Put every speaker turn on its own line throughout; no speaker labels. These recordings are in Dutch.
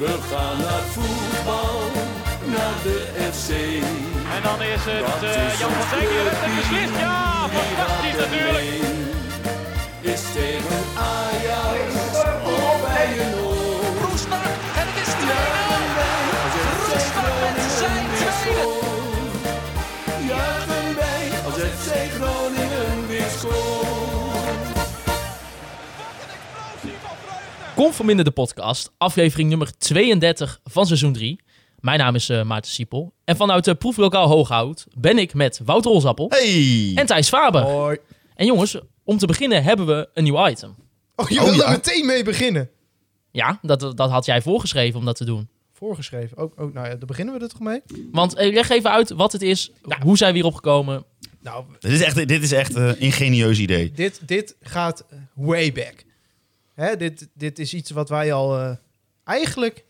We gaan naar voetbal, naar de FC.
En dan is het eh, Jan van Dijk die redt en beslist. Ja, fantastisch natuurlijk.
Is tegen Ajax of bij een oor.
Roestak en het is 2-0. Roestak met zijn tweede.
Juichen wij als FC Groningen weer scoort.
Kom verminder de podcast, aflevering nummer 32 van seizoen 3. Mijn naam is eh, Maarten Siepel. En vanuit de proeflokaal Hooghout ben ik met Wouter Olsappel
Hey!
en Thijs Faber.
Hoi.
En jongens, om te beginnen hebben we een nieuw item.
Oh, je
Oh,
wil
ja.
er meteen mee beginnen.
Ja, dat, dat had jij voorgeschreven om dat te doen.
Voorgeschreven. Ook, ook, nou ja, daar beginnen we er toch mee?
Want eh, leg even uit wat het is,
Nou.
hoe zijn we hierop gekomen.
Nou,
Dit is echt, dit is echt een ingenieus idee.
dit, dit gaat way back. Hè, dit, dit is iets wat wij al eh, eigenlijk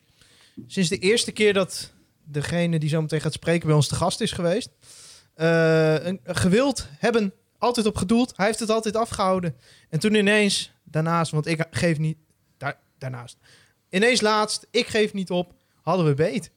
sinds de eerste keer dat degene die zo meteen gaat spreken bij ons te gast is geweest, eh, een, een gewild hebben, altijd op gedoeld. Hij heeft het altijd afgehouden. En toen ineens, daarnaast, want ik geef niet, daar, daarnaast, ineens laatst, ik geef niet op, hadden we beet.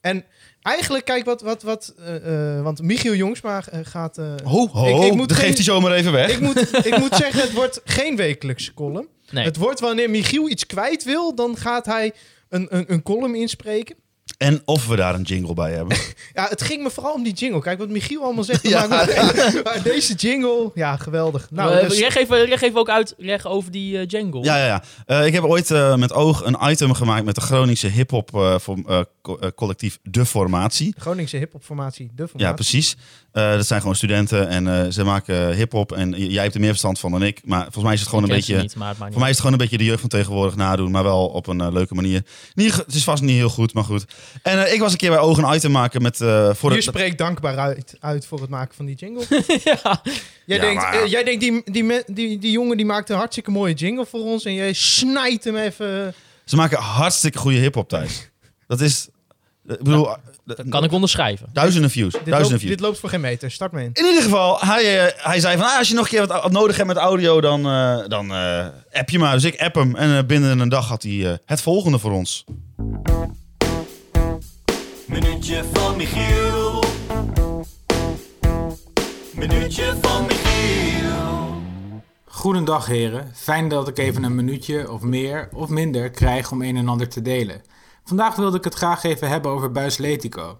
En eigenlijk, kijk wat, wat, wat, eh, eh, want Michiel Jongsma eh, gaat... eh,
Ho, ho,
Ik- ik moet
dat
geen-
geeft hij zomaar even weg.
ik moet, ik moet zeggen, het wordt geen wekelijkse column.
Nee.
Het wordt wanneer Michiel iets kwijt wil, dan gaat hij een, een, een column inspreken.
En of we daar een jingle bij hebben.
Ja, het ging me vooral om die jingle. Kijk, wat Michiel allemaal zegt.
Ja.
Maar, maar- maar deze jingle, ja, geweldig. Nou,
Eh,
dus-
leg, even, leg even ook uit leg over die eh, jingle.
ja, ja, ja. Eh, ik heb ooit eh, met oog een item gemaakt met de Groningse hip-hop eh, voor- eh, co- eh, collectief De Formatie.
Groningse hip-hop formatie, de
Ja,
formatie.
precies. Eh, dat zijn gewoon studenten en eh, ze maken eh, hip-hop. En j- jij hebt er meer verstand van dan ik. Maar volgens mij is het gewoon
Ik
een
ken ze
beetje.
niet, maar het maakt
Voor mij is het gewoon een beetje de jeugd van tegenwoordig nadoen, maar wel op een eh, leuke manier. Niet, ge- het is vast niet heel goed, maar goed. En eh, ik was een keer bij Oog een item maken met... eh, voor
Je
het-
spreekt dankbaar uit, uit voor het maken van die jingle.
niet uit. Ja.
Jij
Ja,
denkt,
maar-
eh, jij denkt die, die, me- die, die jongen die maakt een hartstikke mooie jingle voor ons. En jij snijdt hem even.
Ze maken hartstikke goede hip-hop thuis. Dat is. Ik bedoel, eh,
Kan ik onderschrijven.
duizenden views.
Dit
Duizenden
loopt,
views.
dit loopt voor geen meter. Start me in.
In ieder geval, hij, eh, hij zei van ah, als je nog een keer wat au- nodig hebt met audio, dan, eh, dan eh, app je maar. Dus ik app hem en eh, binnen een dag had hij eh, het volgende voor ons.
Minuutje van Michiel. Minuutje van Michiel.
Goedendag heren, fijn dat ik even een minuutje of meer of minder krijg om een en ander te delen. Vandaag wilde ik het graag even hebben over Buisletico.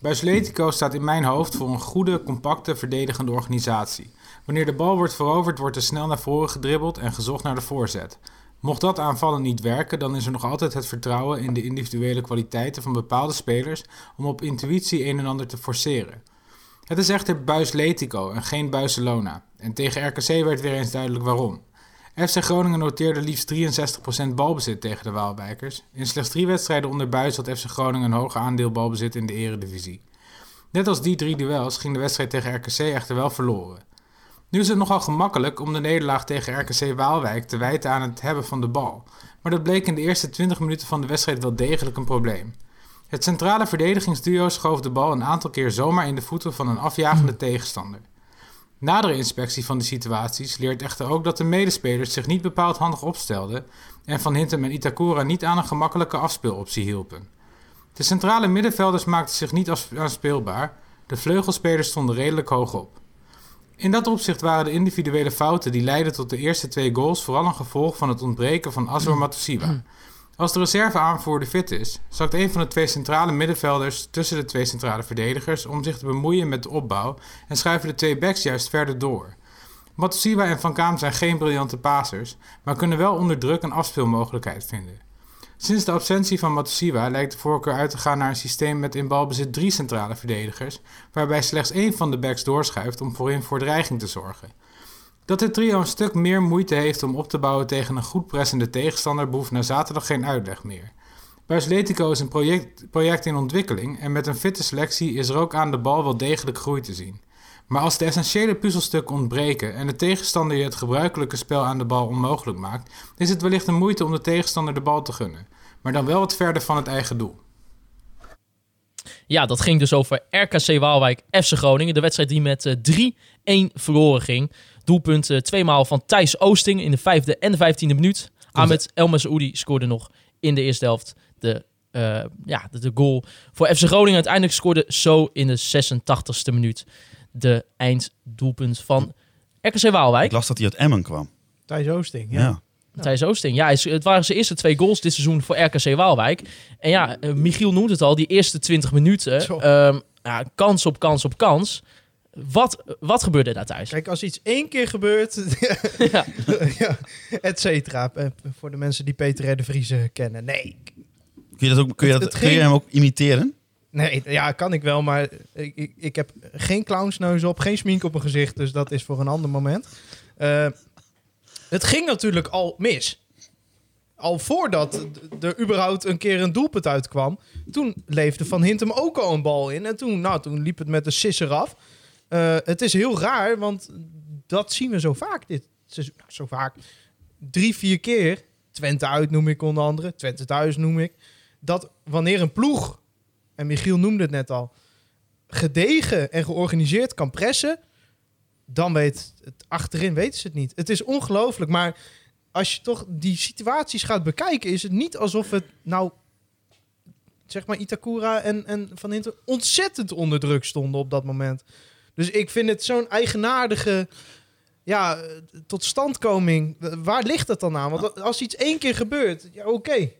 Buisletico staat in mijn hoofd voor een goede, compacte, verdedigende organisatie. Wanneer de bal wordt veroverd, wordt er snel naar voren gedribbeld en gezocht naar de voorzet. Mocht dat aanvallen niet werken, dan is er nog altijd het vertrouwen in de individuele kwaliteiten van bepaalde spelers om op intuïtie een en ander te forceren. Het is echter Buisletico en geen Buiselona. En tegen RKC werd weer eens duidelijk waarom. FC Groningen noteerde liefst 63% balbezit tegen de Waalwijkers. In slechts drie wedstrijden onder Buis had FC Groningen een hoger aandeel balbezit in de eredivisie. Net als die drie duels ging de wedstrijd tegen RKC echter wel verloren. Nu is het nogal gemakkelijk om de nederlaag tegen RKC Waalwijk te wijten aan het hebben van de bal. Maar dat bleek in de eerste 20 minuten van de wedstrijd wel degelijk een probleem. Het centrale verdedigingsduo schoof de bal een aantal keer zomaar in de voeten van een afjagende tegenstander. Nadere inspectie van de situaties leert echter ook dat de medespelers zich niet bepaald handig opstelden en Van Hintem en Itakura niet aan een gemakkelijke afspeeloptie hielpen. De centrale middenvelders maakten zich niet afs- aanspeelbaar, de vleugelspelers stonden redelijk hoog op. In dat opzicht waren de individuele fouten die leidden tot de eerste twee goals vooral een gevolg van het ontbreken van Azor Matosiba. Als de reserveaanvoerder fit is, zakt een van de twee centrale middenvelders tussen de twee centrale verdedigers om zich te bemoeien met de opbouw en schuiven de twee backs juist verder door. Matosiba en Van Kaam zijn geen briljante pasers, maar kunnen wel onder druk een afspeelmogelijkheid vinden. Sinds de absentie van Matosiba lijkt de voorkeur uit te gaan naar een systeem met in balbezit drie centrale verdedigers, waarbij slechts één van de backs doorschuift om voorin voor dreiging te zorgen. Dat dit trio een stuk meer moeite heeft om op te bouwen tegen een goed pressende tegenstander behoeft na zaterdag geen uitleg meer. Buisletico is een project, project in ontwikkeling en met een fitte selectie is er ook aan de bal wel degelijk groei te zien. Maar als de essentiële puzzelstukken ontbreken en de tegenstander je het gebruikelijke spel aan de bal onmogelijk maakt, is het wellicht een moeite om de tegenstander de bal te gunnen. Maar dan wel wat verder van het eigen doel.
Ja, dat ging dus over RKC Waalwijk FC Groningen. De wedstrijd die met eh, 3-1 verloren ging. eh, Doelpunten tweemaal van Thijs Oosting in de vijfde en de vijftiende minuut. Ahmed Elmas Oudi scoorde nog in de eerste helft de, eh, ja, de, de goal voor FC Groningen. Uiteindelijk scoorde zo in de 86e minuut de einddoelpunt van RKC
Ik
Waalwijk.
las dat hij uit Emmen kwam.
Thijs Oosting.
Ja.
Ja.
Thijs Oosting. Ja, is- het waren zijn eerste twee goals dit seizoen voor RKC Waalwijk. En ja, eh, Michiel noemt het al, die eerste 20 minuten.
Zo.
ehm, ja, kans op kans op kans. Wat, wat gebeurde daar thuis?
Kijk, als iets één keer gebeurt,
Ja.
ja, et cetera. Eh, Voor de mensen die Peter R. de Vries eh, kennen. Nee,
Kun je, dat ook, kun, je dat,
Het- het
kun je
ging-
hem ook imiteren?
nee, ja, kan ik wel, maar ik, ik, ik heb geen clownsneus op, geen smink op mijn gezicht. Dus dat is voor een ander moment. Eh, het ging natuurlijk al mis. Al voordat er überhaupt een keer een doelpunt uitkwam. Toen leefde Van Hintem ook al een bal in. En toen, nou, toen liep het met de sisser af. Eh, het is heel raar, want dat zien we zo vaak dit seizoen. Nou, zo vaak. Drie, vier keer. Twente uit noem ik onder andere. Twente thuis noem ik. Dat wanneer een ploeg, en Michiel noemde het net al, gedegen en georganiseerd kan pressen, dan weet het achterin weten ze het niet. Het is ongelooflijk, maar als je toch die situaties gaat bekijken, is het niet alsof het nou zeg maar Itakura en, en Van Hinten ontzettend onder druk stonden op dat moment. Dus ik vind het zo'n eigenaardige ja, eh, totstandkoming. Eh, Waar ligt dat dan aan? Want als iets één keer gebeurt, ja oké.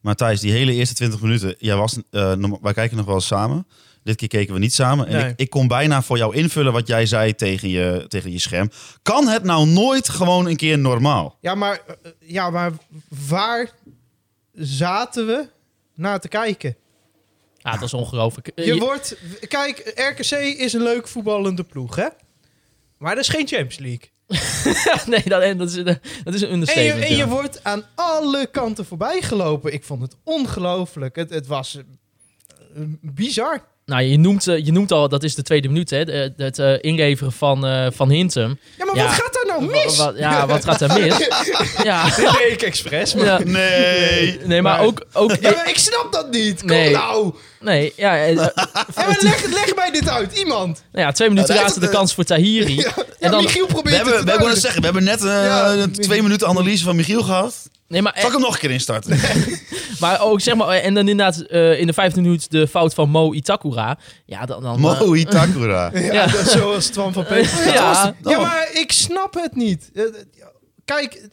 Maar Thijs, die hele eerste 20 minuten, jij was, eh, norma- wij kijken nog wel eens samen. Dit keer keken we niet samen. En
Nee.
ik, ik kon bijna voor jou invullen wat jij zei tegen je, tegen je scherm. Kan het nou nooit gewoon een keer normaal?
Ja, maar, eh, ja, maar waar zaten we naar te kijken?
Ja, dat is ongelooflijk. Eh,
Je
je-
wordt... Kijk, RKC is een leuk voetballende ploeg, hè? Maar dat is geen Champions League.
nee, dat, en dat, is, een- dat is een
En je,
understatement.
en je
ja.
wordt aan alle kanten voorbij gelopen. Ik vond het ongelooflijk. Het, het was eh, eh, bizar.
Nou, je noemt, eh, je noemt al, dat is de tweede minuut, hè, de- het eh, inleveren van, eh, van Hintem.
Ja, maar
Ja.
wat gaat daar nou mis?
Wa- wa- ja, wat gaat er mis? ja.
Dit deed ik expres, maar...
ja.
Nee.
Nee, maar
Maar-
ook... ook
Ja, maar ik snap dat niet. Kom
Nee.
nou.
nee, ja, eh, nou
Ja, maar leg, leg mij dit uit, iemand.
ja, twee minuten later de kans voor Tahiri.
Ja,
en dan,
Michiel
We
probeert
hebben, we
het te
hebben,
dus
duiden.
zeggen, we hebben net eh,
Ja.
een twee minuten analyse van Michiel gehad.
nee, maar, eh,
Zal ik hem nog een keer instarten?
Maar ook zeg maar, en dan inderdaad eh, in de vijfde minuut de fout van Mo Itakura. Ja, dan. dan eh,
Mo Itakura.
ja.
Dat is Zoals Twan van Peter.
Ja.
Ja, maar ik snap het niet. Eh, eh, ja, Kijk,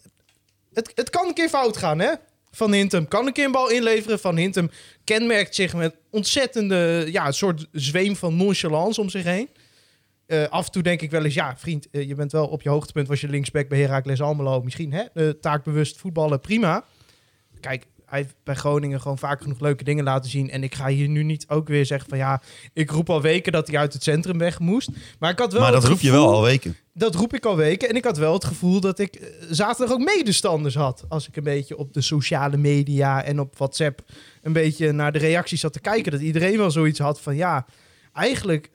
het, het kan een keer fout gaan, hè? Van Hintem kan een keer een bal inleveren. Van Hintem kenmerkt zich met ontzettende, ja, een soort zweem van nonchalance om zich heen. Eh, af en toe denk ik wel eens, ja, vriend, eh, je bent wel op je hoogtepunt. Was je linksback bij Heracles Almelo misschien, hè? Eh, taakbewust voetballen, prima. Kijk, hij heeft bij Groningen gewoon vaak genoeg leuke dingen laten zien. En ik ga hier nu niet ook weer zeggen van, ja, ik roep al weken dat hij uit het centrum weg moest. Maar ik had wel
Maar dat
het
roep je
gevoel-
wel al weken.
dat roep ik al weken. En ik had wel het gevoel dat ik eh, zaterdag ook medestanders had. Als ik een beetje op de sociale media en op WhatsApp een beetje naar de reacties zat te kijken. Dat iedereen wel zoiets had van ja, eigenlijk. eh,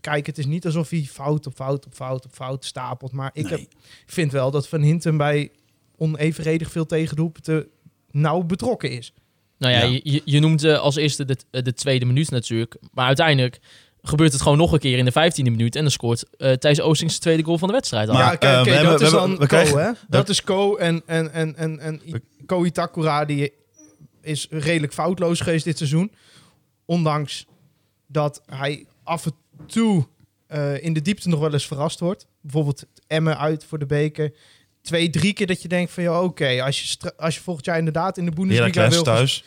Kijk, het is niet alsof hij fout op fout op fout op fout stapelt. Maar ik
Nee.
heb, vind wel dat Van Hinten bij onevenredig veel tegendoelpunten nauw betrokken is.
nou ja,
Ja.
Je, je- je noemt eh, als eerste de, eh, de tweede minuut natuurlijk. Maar uiteindelijk gebeurt het gewoon nog een keer in de vijftiende minuut. En dan scoort eh Thijs Oostings de tweede goal van de wedstrijd. al.
Maar-
ja,
eh,
kijk,
we
kijk,
hebben-
dat
we
is
hebben-
dan
we
Ko,
krijgen-
hè? Dat is Ko en, en, en, en, en I- Ko Itakura, die is redelijk foutloos geweest dit seizoen. Ondanks dat hij af en toe eh, in de diepte nog wel eens verrast wordt. Bijvoorbeeld Emmen uit voor de beker. Twee, drie keer dat je denkt van, ja, oké, als, je stra- als je volgend jaar inderdaad in de Bundesliga
Heracles
wil...
thuis.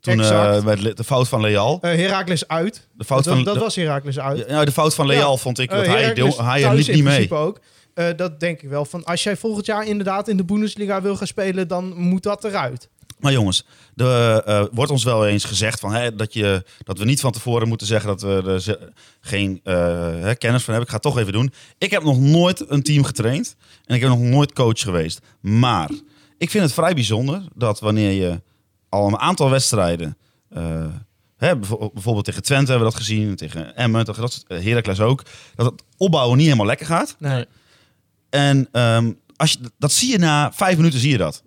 Toen
Exact.
eh, met Le- de fout van Leal.
Eh, Heracles uit.
De fout
dat,
van,
dat
de,
was Heracles uit.
ja, de fout van Leal vond ik, want
Eh,
hij,
Heracles
deel, hij
thuis
liep
in
niet mee.
principe ook. Eh, dat denk ik wel. Van als jij volgend jaar inderdaad in de Bundesliga wil gaan spelen, dan moet dat eruit.
Maar jongens, er eh, wordt ons wel eens gezegd van, hè, dat, je, dat we niet van tevoren moeten zeggen dat we er ze- geen eh, hè, kennis van hebben. Ik ga het toch even doen. Ik heb nog nooit een team getraind en ik heb nog nooit coach geweest. Maar ik vind het vrij bijzonder dat wanneer je al een aantal wedstrijden, eh, hè, bijvo- bijvoorbeeld tegen Twente hebben we dat gezien, tegen Emmen, tegen dat, soort- eh, Heracles ook, dat het opbouwen niet helemaal lekker gaat.
Nee.
En ehm, als je, dat zie je na vijf minuten, zie je dat.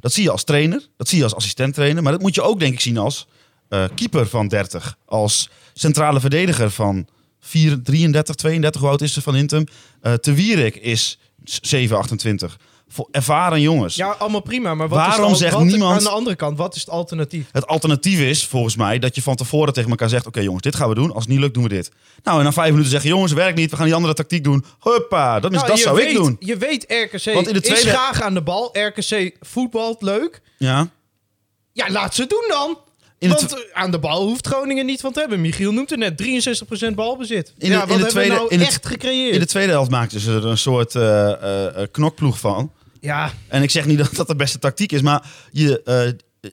Dat zie je als trainer, dat zie je als assistent trainer. Maar dat moet je ook denk ik zien als eh, keeper van 30. Als centrale verdediger van 4, 33, 32, hoe oud is ze van Hintem? Eh te Wierik is 7, 28. voor ervaren jongens.
Ja, allemaal prima. Maar wat is
Waarom
het al-
zegt
wat-
niemand-
Aan de andere kant, wat is het alternatief?
Het alternatief is volgens mij dat je van tevoren tegen elkaar zegt: Oké jongens, dit gaan we doen. Als het niet lukt, doen we dit. Nou, en na vijf minuten zeggen: Jongens, werkt niet. We gaan die andere tactiek doen. Huppa, dat, is, Dus
Nou,
dat
je
zou ik
weet-
doen.
Je weet, RKC
Want in de tweede-
is graag aan de bal. RKC voetbalt leuk.
Ja.
Ja, laat ze doen dan.
In de
want eh, aan de bal hoeft Groningen niet van te hebben. Michiel noemt het net, 63% balbezit.
de-
ja,
in
wat
de
hebben
tweede-
we nou
in de-
echt gecreëerd?
In de tweede helft maakten ze er een soort eh, eh, eh, knokploeg van.
Ja,
En ik zeg niet dat dat de beste tactiek is, maar je eh,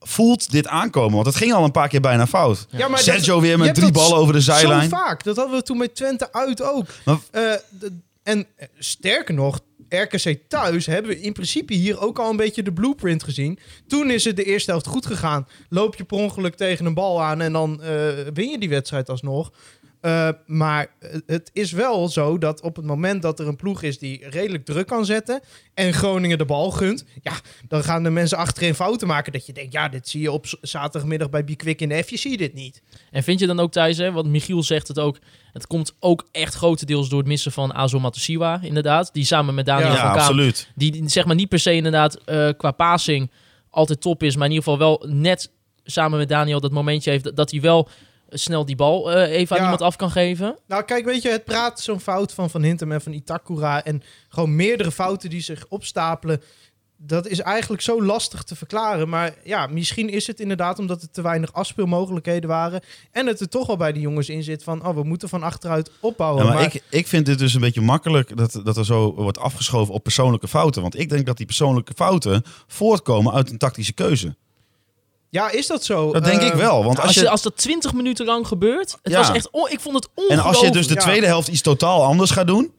voelt dit aankomen. Want het ging al een paar keer bijna fout.
Ja, maar
Sergio
dat-
weer
je
met
hebt
drie
dat
ballen over de
Zo
zijlijn.
vaak. Dat hadden we toen met Twente uit ook.
Maar-
Eh, d- en eh, sterker nog, RKC thuis hebben we in principe hier ook al een beetje de blueprint gezien. Toen is het de eerste helft goed gegaan. Loop je per ongeluk tegen een bal aan en dan eh, win je die wedstrijd alsnog. Eh, maar eh, het is wel zo dat op het moment dat er een ploeg is die redelijk druk kan zetten en Groningen de bal gunt, ja, dan gaan de mensen achterin fouten maken. Dat je denkt, ja, dit zie je op z- zaterdagmiddag bij Bikwik in de F, je ziet dit niet.
En vind je dan ook thuis, hè, want Michiel zegt het ook, het komt ook echt grotendeels door het missen van Azo Matosiwa, inderdaad. Die samen met Daniel
Ja,
Ja,
van Kaam,
absoluut.
die die, zeg maar niet per se inderdaad eh, qua passing altijd top is, maar in ieder geval wel net samen met Daniel dat momentje heeft dat- dat hij wel snel die bal eh, even aan
Ja.
iemand af kan geven.
Nou, kijk, weet je, het praat zo'n fout van Van Hintem en van Itakura. En gewoon meerdere fouten die zich opstapelen. Dat is eigenlijk zo lastig te verklaren. Maar ja, misschien is het inderdaad omdat er te weinig afspeelmogelijkheden waren. En het er toch wel bij de jongens in zit van, oh, we moeten van achteruit opbouwen.
Ja, maar
Oh, maar
ik, ik vind dit dus een beetje makkelijk dat, dat er zo wordt afgeschoven op persoonlijke fouten. Want ik denk dat die persoonlijke fouten voortkomen uit een tactische keuze.
ja, is dat zo?
Dat denk
Eh,
ik wel. Want
Nou, Als,
als
je,
je,
als dat 20 minuten lang gebeurt, het
Ja.
was echt, on- ik vond het
en
ongelooflijk.
als je dus de
Ja.
tweede helft iets totaal anders gaat doen.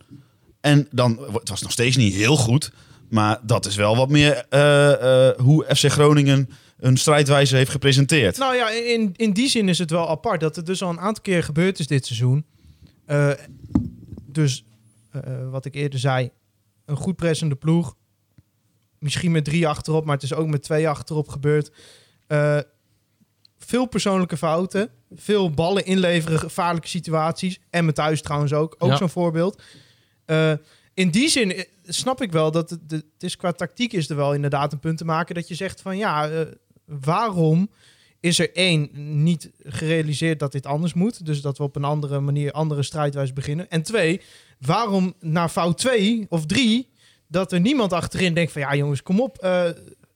En dan, het was nog steeds niet heel goed. Maar dat is wel wat meer eh, eh, hoe FC Groningen een strijdwijze heeft gepresenteerd.
Nou ja, in, in die zin is het wel apart dat het dus al een aantal keer gebeurd is dit seizoen. Eh, dus eh, wat ik eerder zei, een goed pressende ploeg. Misschien met drie achterop, maar het is ook met twee achterop gebeurd. Eh, veel persoonlijke fouten, veel ballen inleveren, gevaarlijke situaties. En met thuis trouwens ook, ook
Ja.
zo'n voorbeeld. Eh, in die zin eh, snap ik wel dat het, de- het is qua tactiek is er wel inderdaad een punt te maken dat je zegt van ja, eh, waarom is er één niet gerealiseerd dat dit anders moet. Dus dat we op een andere manier, andere strijdwijze beginnen. En twee, waarom na fout twee of drie, dat er niemand achterin denkt van ja jongens, kom op, eh,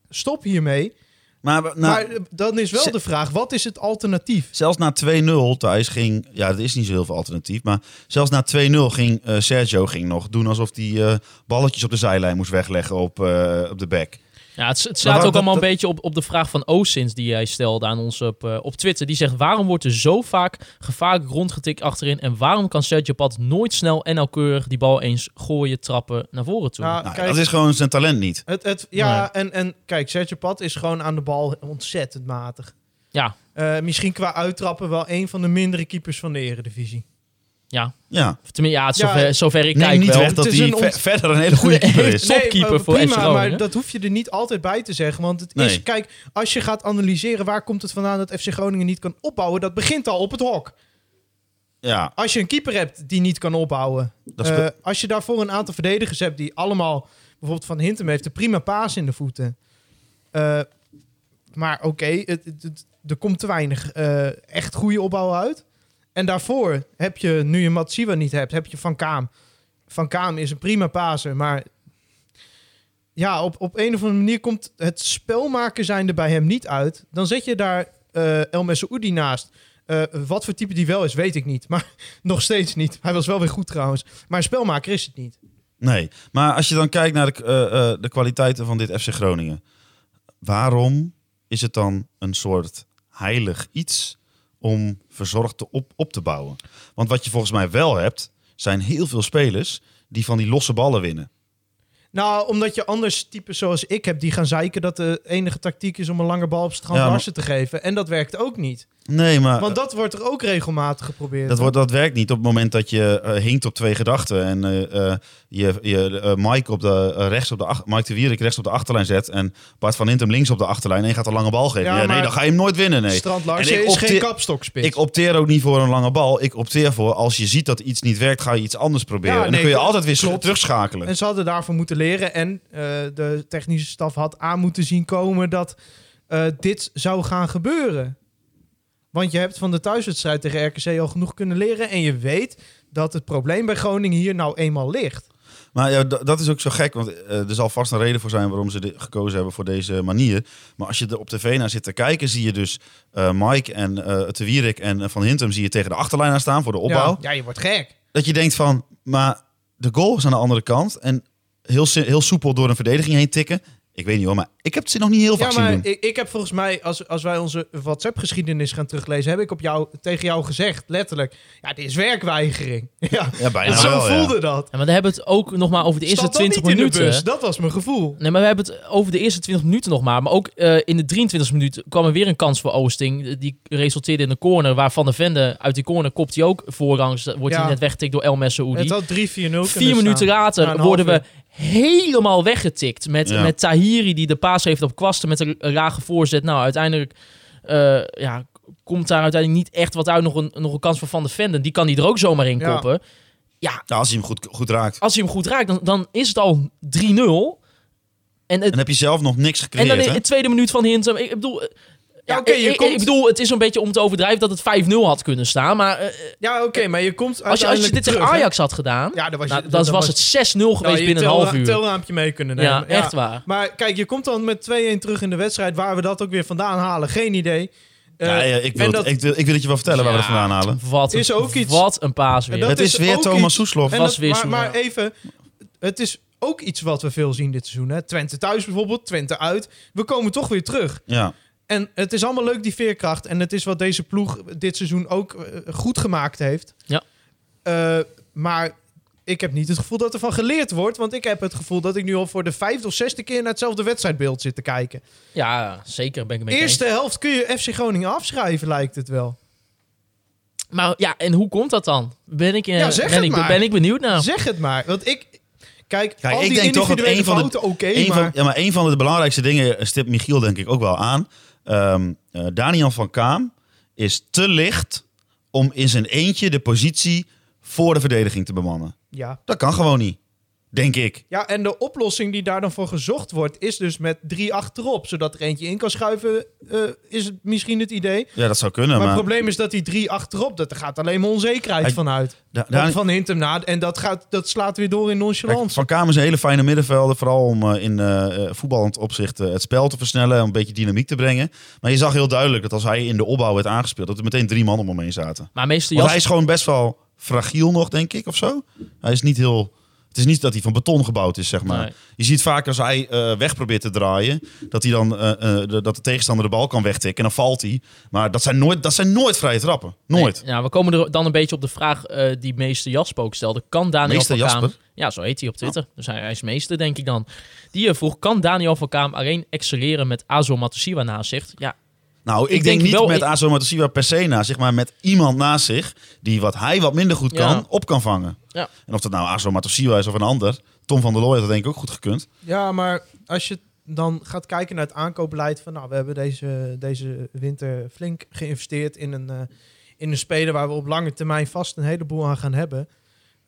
stop hiermee.
Maar, nou,
maar eh, dan is wel
ze-
de vraag, wat is het alternatief?
zelfs na 2-0 thuis ging... Ja, dat is niet zo heel veel alternatief. Maar zelfs na 2-0 ging eh, Sergio ging nog doen alsof hij eh, balletjes op de zijlijn moest wegleggen op, eh, op de back.
Ja, het, het
Maar
slaat
waar-
ook allemaal
dat-
een beetje op, op de vraag van Oosins die jij stelde aan ons op, eh, op Twitter. Die zegt, waarom wordt er zo vaak gevaarlijk rondgetikt achterin en waarom kan Sergio Pat nooit snel en nauwkeurig die bal eens gooien, trappen naar voren toe?
Nou,
Nou,
kijk,
dat is gewoon zijn talent niet.
het, het, ja, en, en kijk, Sergio Pat is gewoon aan de bal ontzettend matig.
Ja,
Eh, misschien qua uittrappen wel een van de mindere keepers van de eredivisie.
Ja.
tenminste, ja, het is
Ja,
zover, zover ik
Neem
kijk
niet
wel.
weg dat
Het is
hij
een ont-
ver- verder een hele goede keeper is.
Nee, topkeeper
eh,
voor FC
prima,
Groningen.
maar dat hoef je er niet altijd bij te zeggen. Want het
Nee.
is, kijk, als je gaat analyseren waar komt het vandaan dat FC Groningen niet kan opbouwen, dat begint al op het hok.
Ja,
Als je een keeper hebt die niet kan opbouwen,
dat is
eh, als je daarvoor een aantal verdedigers hebt die allemaal, bijvoorbeeld Van Hintem heeft een prima paas in de voeten. Eh, maar oké, het- het- het- er komt te weinig eh, echt goede opbouw uit. En daarvoor heb je, nu je Matsiwa niet hebt, heb je Van Kaam. Van Kaam is een prima paser, maar ja, op, op een of andere manier komt het spelmaken zijn er bij hem niet uit. Dan zet je daar eh El Messoudi naast. Eh, wat voor type die wel is, weet ik niet. Maar nog steeds niet. Hij was wel weer goed trouwens. Maar een spelmaker is het niet.
Nee, maar als je dan kijkt naar de, eh, eh, de kwaliteiten van dit FC Groningen. Waarom is het dan een soort heilig iets om verzorgd te op, op te bouwen? Want wat je volgens mij wel hebt, zijn heel veel spelers die van die losse ballen winnen.
Nou, omdat je anders types zoals ik heb, die gaan zeiken dat de enige tactiek is om een lange bal op strand
Ja, maar-
Larsen te geven. En dat werkt ook niet.
Nee, maar
Want
dat,
dat wordt er ook regelmatig geprobeerd.
dat, wordt, dat werkt niet op het moment dat je eh, hinkt op twee gedachten. En eh, eh, je, je eh, Mike, op de, eh, rechts op de, ach- Mike de Wierik rechts op de achterlijn zet. En Bart van Hintem links op de achterlijn. En je gaat een lange bal geven.
Ja,
Ja, nee,
maar-
dan ga je hem nooit winnen. Nee.
Strand
En
Larsen
ik
is
opte-
geen kapstokspits.
Ik opteer ook niet voor een lange bal. Ik opteer voor als je ziet dat iets niet werkt, ga je iets anders proberen.
Ja,
en dan
nee,
kun je
klopt.
altijd weer
Klopt.
terugschakelen.
En ze hadden daarvoor moeten leren. En eh, de technische staf had aan moeten zien komen dat eh, dit zou gaan gebeuren. Want je hebt van de thuiswedstrijd tegen RKC al genoeg kunnen leren. En je weet dat het probleem bij Groningen hier nou eenmaal ligt.
Maar ja, d- dat is ook zo gek, want eh, er zal vast een reden voor zijn waarom ze dit gekozen hebben voor deze manier. Maar als je er op tv naar zit te kijken, zie je dus eh, Mike en eh Te Wierik en eh, Van Hintem zie je tegen de achterlijn aan staan voor de opbouw.
Ja, ja, je wordt gek.
Dat je denkt van, maar de goal is aan de andere kant en heel, si- heel soepel door een verdediging heen tikken. Ik weet niet hoor, maar ik heb ze nog niet heel vaak
Ja,
zien
maar
doen.
ik, ik heb volgens mij, als, als wij onze WhatsApp-geschiedenis gaan teruglezen, heb ik op jou, tegen jou gezegd, letterlijk, ja, dit is werkweigering. Ja,
Ja, bijna
en zo
wel, ja.
voelde dat.
Ja, maar dan hebben we het ook nog maar over de eerste
Stap dan
20
niet in de
minuten.
bus, dat was mijn gevoel.
Nee, maar we hebben het over de eerste 20 minuten nog maar. Maar ook eh, in de 23 minuut kwam er weer een kans voor Oosting. Eh, Die resulteerde in een corner waar Van der Vende uit die corner kopt hij ook voorrangs. Wordt
Ja.
hij net weggetikt door El
Het
Messaoudi.
had 3-4-0 kunnen
Vier minuten
staan.
later
Ja, een half
worden we helemaal weggetikt. Met,
Ja.
met Tahiri die de paas heeft op kwasten met een lage voorzet. Nou, uiteindelijk eh, ja, komt daar uiteindelijk niet echt wat uit. Nog een, nog een kans voor Van der Vende. Die kan hij er ook zomaar in
Ja.
koppen.
Ja, Nou, als hij hem goed, goed raakt.
Als hij hem goed raakt, dan, dan is het al 3-0. En het,
En dan heb je zelf nog niks
En
gecreëerd,
dan in
hè?
de tweede minuut van Hintem. Ik bedoel... eh, Ja,
oké, je
ik, ik-
komt-
ik bedoel, het is een beetje om te overdrijven dat het 5-0 had kunnen staan. Maar eh,
Ja, oké, maar je komt
als, je, als je dit tegen
terug, hè?
Ajax had gedaan,
Ja, dan was, je,
nou, dan was het 6-0 geweest
nou, je
binnen een
tel-
half uur.
telraampje mee kunnen nemen.
ja, echt waar.
Maar kijk, je komt dan met 2-1 terug in de wedstrijd, waar we dat ook weer vandaan halen, geen idee. Eh,
Ja, ja, ik, wil
en
het,
dat-
ik, wil, ik wil het je wel vertellen waar we het vandaan halen.
Wat,
Is
een-
ook iets-
wat een paas weer.
En dat-
het is,
is
weer
ook
Thomas
iets-
Soeslof.
En
was
dat-
weer
maar,
zoen, ja.
maar even, het is ook iets wat we veel zien dit seizoen. Hè? Twente thuis bijvoorbeeld, Twente uit. We komen toch weer terug.
Ja.
En het is allemaal leuk, die veerkracht. En het is wat deze ploeg dit seizoen ook eh, goed gemaakt heeft.
Ja.
Eh, maar ik heb niet het gevoel dat er van geleerd wordt. Want ik heb het gevoel dat ik nu al voor de vijfde of zesde keer... naar hetzelfde wedstrijdbeeld zit te kijken.
Ja, zeker ben ik mee
Eerste helft kun je FC Groningen afschrijven, lijkt het wel.
eens. Maar ja, en hoe komt dat dan? Ben ik, eh,
Ja, zeg
ben
het
ik,
maar.
ben ik benieuwd naar.
Zeg het maar. Want ik... Kijk,
Kijk,
al
Nou. ik
die
denk toch dat
individuele
een van de-
fouten, oké,
Een
maar...
van, ja, maar een van de belangrijkste dingen eh, stipt Michiel denk ik ook wel aan. Ehm, eh, Daniel van Kaam is te licht om in zijn eentje de positie voor de verdediging te bemannen.
Ja,
Dat kan gewoon niet, denk ik.
Ja, en de oplossing die daar dan voor gezocht wordt, is dus met drie achterop. Zodat er eentje in kan schuiven, eh, is het misschien het idee.
Ja, dat zou kunnen,
maar
maar...
het probleem is dat die drie achterop, dat, er gaat alleen maar onzekerheid
Hij-
vanuit.
Da-
Want
Dani-
van Hintem na, en dat, gaat, dat slaat weer door in
Kijk,
nonchalance.
van Kaam is een hele fijne middenvelder, vooral om eh, in eh eh, voetballend opzicht eh, het spel te versnellen en een beetje dynamiek te brengen. Maar je zag heel duidelijk dat als hij in de opbouw werd aangespeeld, dat er meteen drie man om hem heen zaten.
Maar meester
Want
Jas...
hij is gewoon best wel fragiel nog, denk ik, of zo. Hij is niet heel... Het is niet dat hij van beton gebouwd is, zeg maar.
Nee.
Je ziet vaak als hij eh, weg probeert te draaien... Dat, hij dan, eh, eh, de, dat de tegenstander de bal kan wegtikken en dan valt hij. Maar dat zijn nooit, dat zijn nooit vrije trappen. Nooit.
Nee, ja, we komen er dan een beetje op de vraag eh, die meester Jasper ook stelde. Kan Daniel
Meester
van Kaam...
Jasper?
Ja, zo heet hij op Twitter. Dus hij, hij is meester, denk ik dan. Die eh, vroeg, kan Daniel van Kaam alleen excelleren met Azo Matosiwa naast zich? Ja,
Nou, ik,
Ik
denk,
denk
niet
wel-
met
ik-
Azo Matosiwa per se naast zich... maar met iemand naast zich die wat hij wat minder goed kan,
Ja.
op kan vangen.
Ja.
En of dat nou Azo Matosiwa is of een ander... Tom van der Looy had dat denk ik ook goed gekund.
Ja, maar als je dan gaat kijken naar het aankoopbeleid van, nou, we hebben deze, deze winter flink geïnvesteerd in een, eh, in een speler waar we op lange termijn vast een heleboel aan gaan hebben.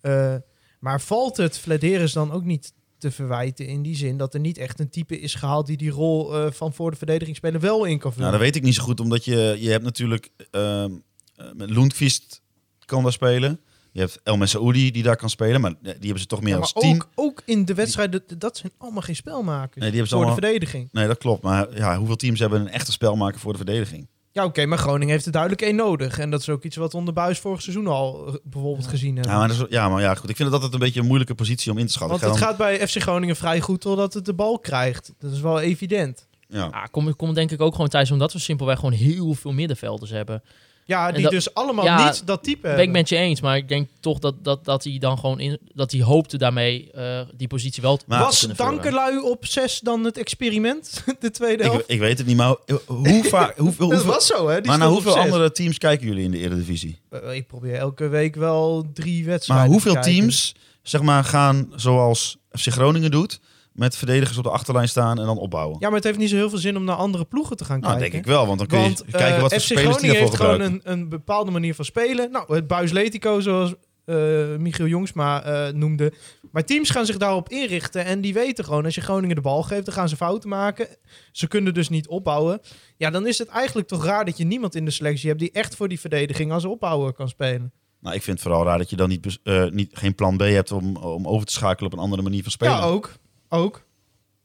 Eh, maar valt het Vladeris dan ook niet te verwijten in die zin dat er niet echt een type is gehaald die die rol eh, van voor de verdedigingsspeler wel in kan vullen?
Nou, dat weet ik niet zo goed, omdat je, je hebt natuurlijk ehm, eh, met Lundqvist kan daar spelen. Je hebt El Messaoudi die daar kan spelen, maar eh, die hebben ze toch meer
Ja,
als
maar
team.
ook, ook in de wedstrijden, dat- dat zijn allemaal geen spelmakers
Nee, die hebben ze
voor de
allemaal-
verdediging.
Nee, dat klopt. Maar ja, hoeveel teams hebben een echte spelmaker voor de verdediging?
Ja, oké, maar Groningen heeft er duidelijk één nodig. En dat is ook iets wat we onder Buis vorig seizoen al eh, bijvoorbeeld gezien hebben.
Ja, maar, dat is- ja, maar ja, goed. Ik vind dat altijd een beetje een moeilijke positie om in te schatten.
Want het
Ik ga
gaat bij FC Groningen vrij goed totdat het de bal krijgt. Dat is wel evident.
dan- ja.
Ah, komt kom denk ik ook gewoon thuis omdat we simpelweg gewoon heel veel middenvelders hebben.
Ja, die
dat-
dus allemaal
ja,
niet dat type
Eh,
Ben ik
hebben.
met je eens, maar ik denk toch dat, dat, dat hij dan gewoon in, dat hij hoopte daarmee eh, die positie wel te
Maar-
te
Was
kunnen vullen.
Dankelui op 6 dan het experiment? De tweede
ik,
helft?
ik weet het niet, maar hoe vaak... Hoeveel,
Dat
hoeveel,
was zo, hè? Die
maar naar
stond op
hoeveel
zes.
andere teams kijken jullie in de Eredivisie?
Eh, Ik probeer elke week wel drie wedstrijden
Maar hoeveel
te kijken.
teams zeg maar, gaan zoals FC Groningen doet... met verdedigers op de achterlijn staan en dan opbouwen?
Ja, maar het heeft niet zo heel veel zin om naar andere ploegen te gaan
Nou,
kijken.
denk ik wel, want dan kun je
Want eh,
kijken wat voor
FC
spelers die
Groningen
daarvoor
heeft gewoon
gebruiken.
een, een bepaalde manier van spelen. Nou, het Buisletico, zoals eh, Michiel Jongsma eh, noemde. Maar teams gaan zich daarop inrichten. En die weten gewoon, als je Groningen de bal geeft, dan gaan ze fouten maken. Ze kunnen dus niet opbouwen. Ja, dan is het eigenlijk toch raar dat je niemand in de selectie hebt die echt voor die verdediging als opbouwer kan spelen.
Nou, ik vind het vooral raar dat je dan niet, bes- eh, niet, geen plan B hebt om, om over te schakelen op een andere manier van spelen.
Ja, ook. Ook.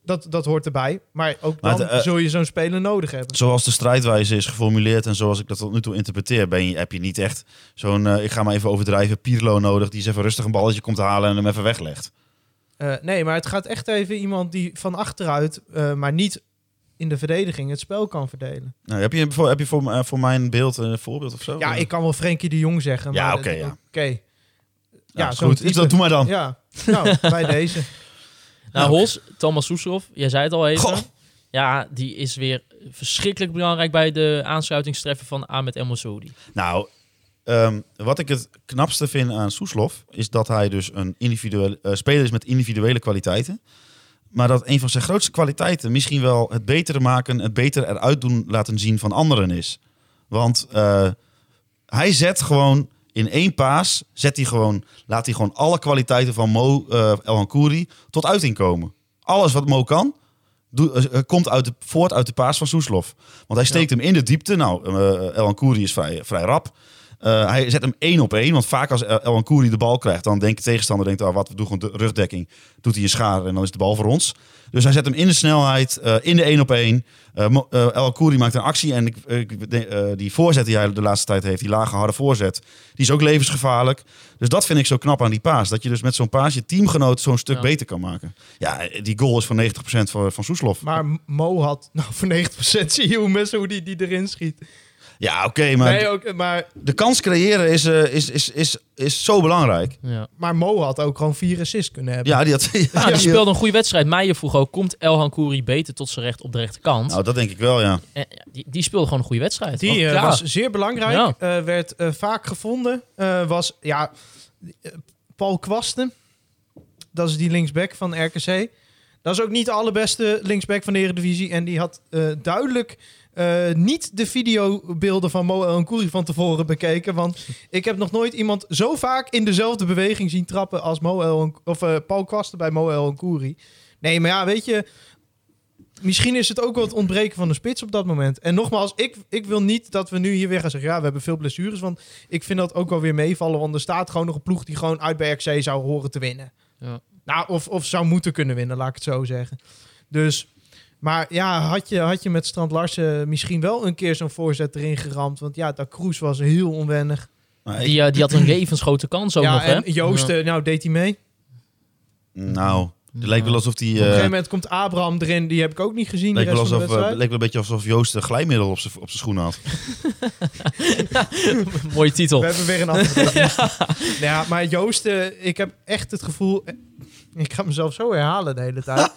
Dat, dat hoort erbij. Maar ook
Maar
dan
het, eh,
zul je zo'n speler nodig hebben.
Zoals de strijdwijze is geformuleerd en zoals ik dat tot nu toe interpreteer, ben je, heb je niet echt zo'n, eh, ik ga maar even overdrijven, Pirlo nodig die eens even rustig een balletje komt halen en hem even weglegt.
Eh, nee, maar het gaat echt even iemand die van achteruit, eh, maar niet in de verdediging, het spel kan verdelen.
Nou, heb je, voor, heb je voor, eh, voor mijn beeld een voorbeeld of zo?
Ja, ik kan wel Frenkie de Jong zeggen.
Oh, Ja,
maar
oké, ja.
Ja,
ja, is
zo'n
goed. Dus
type.
dat doe maar dan.
Ja, nou, bij deze.
Nou, Hols, Thomas Soeslof, jij zei het al even.
Goh.
Ja, die is weer verschrikkelijk belangrijk bij de aansluitingstreffen van Ahmed El Mossoudi.
Nou, ehm, wat ik het knapste vind aan Soeslof is dat hij dus een individuele, eh, speler is met individuele kwaliteiten. Maar dat een van zijn grootste kwaliteiten misschien wel het beter maken, het beter eruit doen laten zien van anderen is. Want eh, hij zet gewoon in één paas, zet hij gewoon, laat hij gewoon alle kwaliteiten van Mo eh El Hankouri tot uiting komen. Alles wat Mo kan, doe- eh, eh, komt uit de, voort uit de paas van Soeslof. Want hij steekt hem in de diepte. Nou, eh El Ankouri is vrij, vrij rap. Eh, hij zet hem één op één. Want vaak als El El Ankouri de bal krijgt, dan denkt de tegenstander: denkt, ah, wat, we doen gewoon de rugdekking. Doet hij een schaar en dan is de bal voor ons. Dus hij zet hem in de snelheid, eh, in de één op één. Eh, Mo- eh, El Ankouri maakt een actie. En ik, ik denk, eh, die voorzet die hij de laatste tijd heeft, die lage harde voorzet, die is ook levensgevaarlijk. Dus dat vind ik zo knap aan die paas. Dat je dus met zo'n paas je teamgenoot zo'n stuk
Ja.
beter kan maken. Ja, die goal is van 90% van, van Soeslof.
Maar Mo had, nou, voor 90% zie je hoe mensen hoe die, die erin schiet.
Ja, oké, maar
nee, ook, maar,
de kans creëren is, eh, is, is, is, is zo belangrijk.
Ja.
maar Mo had ook gewoon vier assists kunnen hebben.
Ja, die, had, ja,
Nou, die
die-
speelde een goede wedstrijd. Meijer vroeg ook, komt El Hankouri beter tot zijn recht op de rechterkant?
Nou, dat denk ik wel, ja.
En, ja, die, die speelde gewoon een goede wedstrijd.
Die
Want
eh,
ja,
was zeer belangrijk.
Ja.
eh, werd eh, vaak gevonden. Eh, was, ja, eh, Paul Kwasten. Dat is die linksback van RKC. Dat is ook niet de allerbeste linksback van de Eredivisie. En die had eh, duidelijk eh, niet de videobeelden van Mo en Koeri van tevoren bekeken. Want ik heb nog nooit iemand zo vaak in dezelfde beweging zien trappen als Mo El- of, eh, Paul Kwasten bij Mo en Koeri. Nee, maar ja, weet je, Misschien is het ook wel het ontbreken van de spits op dat moment. En nogmaals, ik, ik wil niet dat we nu hier weer gaan zeggen... ja, we hebben veel blessures, want ik vind dat ook wel weer meevallen. Want er staat gewoon nog een ploeg die gewoon uit bij RKC zou horen te winnen.
Ja.
Nou, of, of zou moeten kunnen winnen, laat ik het zo zeggen. Dus, maar ja, had je, had je met Strand Larsen misschien wel een keer zo'n voorzet erin geramd? Want ja, dat Kroes was heel onwennig.
Maar ik-
die, eh, die had een levensgrote kans ook
ja,
nog, hè?
en Joost, eh, nou, deed hij mee. Op
nou, het lijkt wel alsof die...
een
eh
gegeven moment komt Abraham erin, die heb ik ook niet gezien. De
Leek wel,
rest van
alsof,
de
eh,
wedstrijd.
leek wel een beetje alsof Joost een glijmiddel op zijn op zijn schoenen had.
Ja. Mooie titel.
We hebben weer een andere. ja. ja, maar Joost, eh, ik heb echt het gevoel. eh, Ik ga mezelf zo herhalen de hele tijd.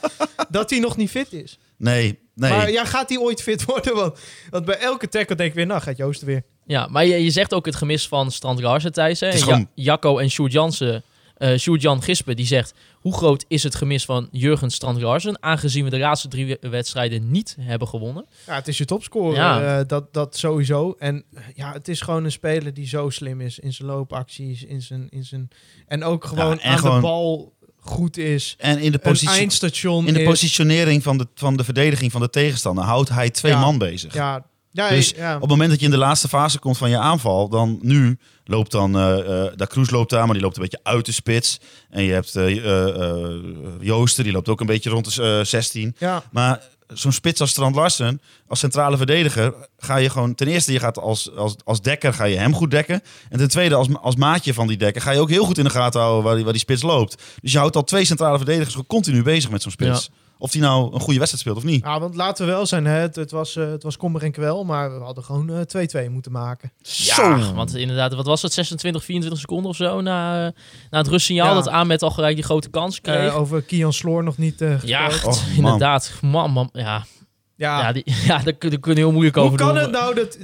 dat hij nog niet fit is.
Nee, nee.
Maar ja, gaat hij ooit fit worden? Want, want bij elke tackle denk ik weer, nou gaat Joost er weer.
Ja, maar je, je zegt ook het gemis van Strand Larsen, Thijs. Hè?
is
Ja-
gewoon-
Jacco en Sjoerd Jansen. eh Sjoerd Jan Gispen die zegt... Hoe groot is het gemis van Jurgen Strand Larsen... aangezien we de laatste drie we- wedstrijden niet hebben gewonnen?
Ja, het is je topscorer.
Ja.
eh, dat, dat sowieso. En eh, ja, het is gewoon een speler die zo slim is in zijn loopacties. In zijn, in zijn, en ook gewoon
en
aan
gewoon
de bal goed is.
en in de,
Een
positie,
eindstation
in de
is.
positionering van de, van de verdediging van de tegenstander houdt hij twee
Ja.
man bezig.
Ja, ja,
Dus
ja.
Op het moment dat je in de laatste fase komt van je aanval, dan nu loopt dan, eh eh, Da Cruz loopt daar, maar die loopt een beetje uit de spits. En je hebt eh eh, eh, Joosten, die loopt ook een beetje rond de eh, 16.
ja.
Maar zo'n spits als Strand Larsen, als centrale verdediger, ga je gewoon... Ten eerste, je gaat als, als, als dekker ga je hem goed dekken. En ten tweede, als, als maatje van die dekker, ga je ook heel goed in de gaten houden waar die, waar die spits loopt. Dus je houdt al twee centrale verdedigers gewoon continu bezig met zo'n spits. Of die nou een goede wedstrijd speelt of niet.
Ja, Nou, want laten we wel zijn, hè? Het, het, was, eh, het was kommer en kwel, maar we hadden gewoon eh, 2-2 moeten maken.
Ja, want inderdaad, wat was het? 26, 24 seconden of zo na, eh, na het rustsignaal...
Ja.
dat Ahmed al gelijk die grote kans
Eh,
kreeg.
over Kian Sloor nog niet eh,
ja,
gesproken.
Oh, man.
inderdaad. Man, man, ja,
Ja,
ja, die, ja daar, kun- daar kun je heel moeilijk
Ah. hoe
over
kan
doen.
het nou dat...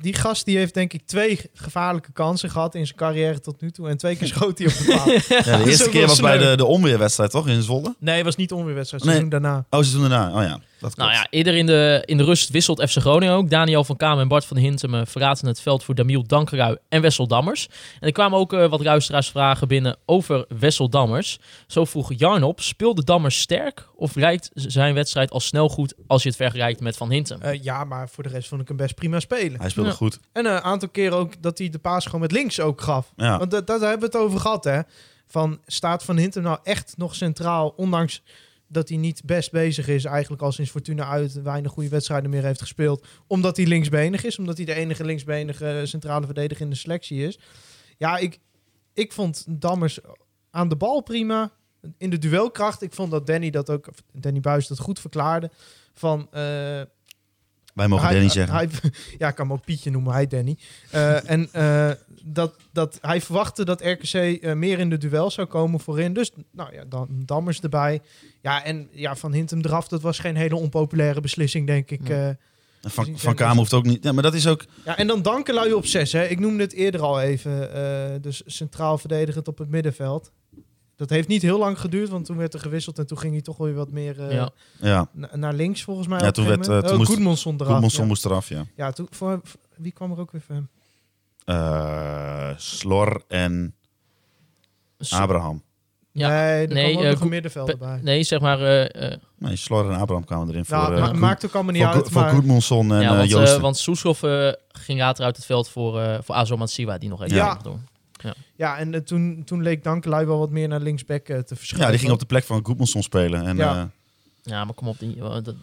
Die gast die heeft denk ik twee gevaarlijke kansen gehad in zijn carrière tot nu toe. En twee keer schoot hij op de paal.
Ja, de
is
eerste
ook
keer
wel
was bij
sneu.
de, de onweerwedstrijd, toch? In Zwolle?
Nee, het was niet onweerwedstrijd,
Nee.
seizoen daarna.
Oh, ze doen daarna. Oh ja. Dat klopt.
Nou ja, eerder in de, in de rust wisselt FC Groningen ook. Daniel van Kamer en Bart van Hintem verlaten het veld voor Damiel Dankerui en Wessel Dammers. En er kwamen ook eh, wat luisteraarsvragen binnen over Wessel Dammers. Zo vroeg Jarn op, speelde Dammers sterk of reikt zijn wedstrijd al snel goed als je het vergelijkt met Van Hintem?
Eh, ja, maar voor de rest vond ik hem best prima spelen.
Hij speelde
Ja.
goed.
En een aantal keren ook dat hij de paas gewoon met links ook gaf.
Ja.
Want dat, daar hebben we het over gehad, hè. Van, staat Van Hintem nou echt nog centraal, ondanks dat hij niet best bezig is, eigenlijk al sinds Fortuna uit weinig goede wedstrijden meer heeft gespeeld, omdat hij linksbenig is, omdat hij de enige linksbenige eh, centrale verdediger in de selectie is. Ja, ik, ik vond Dammers aan de bal prima, in de duelkracht. Ik vond dat Danny dat ook, of Danny Buis dat goed verklaarde, van... eh,
Wij mogen Danny zeggen.
hij- ja, ik kan hem ook Pietje noemen, hij Danny. Eh, en eh, dat, dat, hij verwachtte dat RKC eh, meer in de duel zou komen voorin. Dus nou ja, dan Dammers erbij. Ja, en ja, Van Hintem eraf, dat was geen hele onpopulaire beslissing, denk ik. eh.
En van
Precies,
van
ja,
Kamer hoeft ook niet. Ja, maar dat is ook.
ja, en dan Dankelui op zes. Hè. Ik noemde het eerder al even. eh, dus centraal verdedigend op het middenveld. Dat heeft niet heel lang geduurd, want toen werd er gewisseld en toen ging hij toch weer wat meer eh,
Ja.
Ja,
na- naar links volgens mij.
Ja,
op een
toen
gegeven
werd, eh,
moment.
toen
Oh,
moest-
Goedmanson eraf.
Goedmanson
ja.
moest eraf, ja.
Ja, toen, voor, voor- wie kwam er ook weer voor hem?
Eh, Slor en Abraham.
Ja,
nee, er
nee,
kwam ook
eh,
nog
Ko-
een middenvelder bij.
Nee, zeg maar... eh, eh,
Nee, Slor en Abraham kwamen erin
nou,
voor, eh,
ma-
Goed-
maakt ook allemaal niet
voor,
uit,
Goed- voor
maar
Goedmanson en
ja,
eh,
want, eh,
Joosten.
want Soeslof eh, ging later uit het veld voor, eh voor Azo Matsiwa, die nog even
Ja.
ja. doen.
ja, en eh, toen, toen leek Dankelui wel wat meer naar linksback eh, te
ja,
verschuiven.
die ging op de plek van Goedmanson spelen. En,
Ja.
eh,
Ja, maar kom op, die, eh, dat-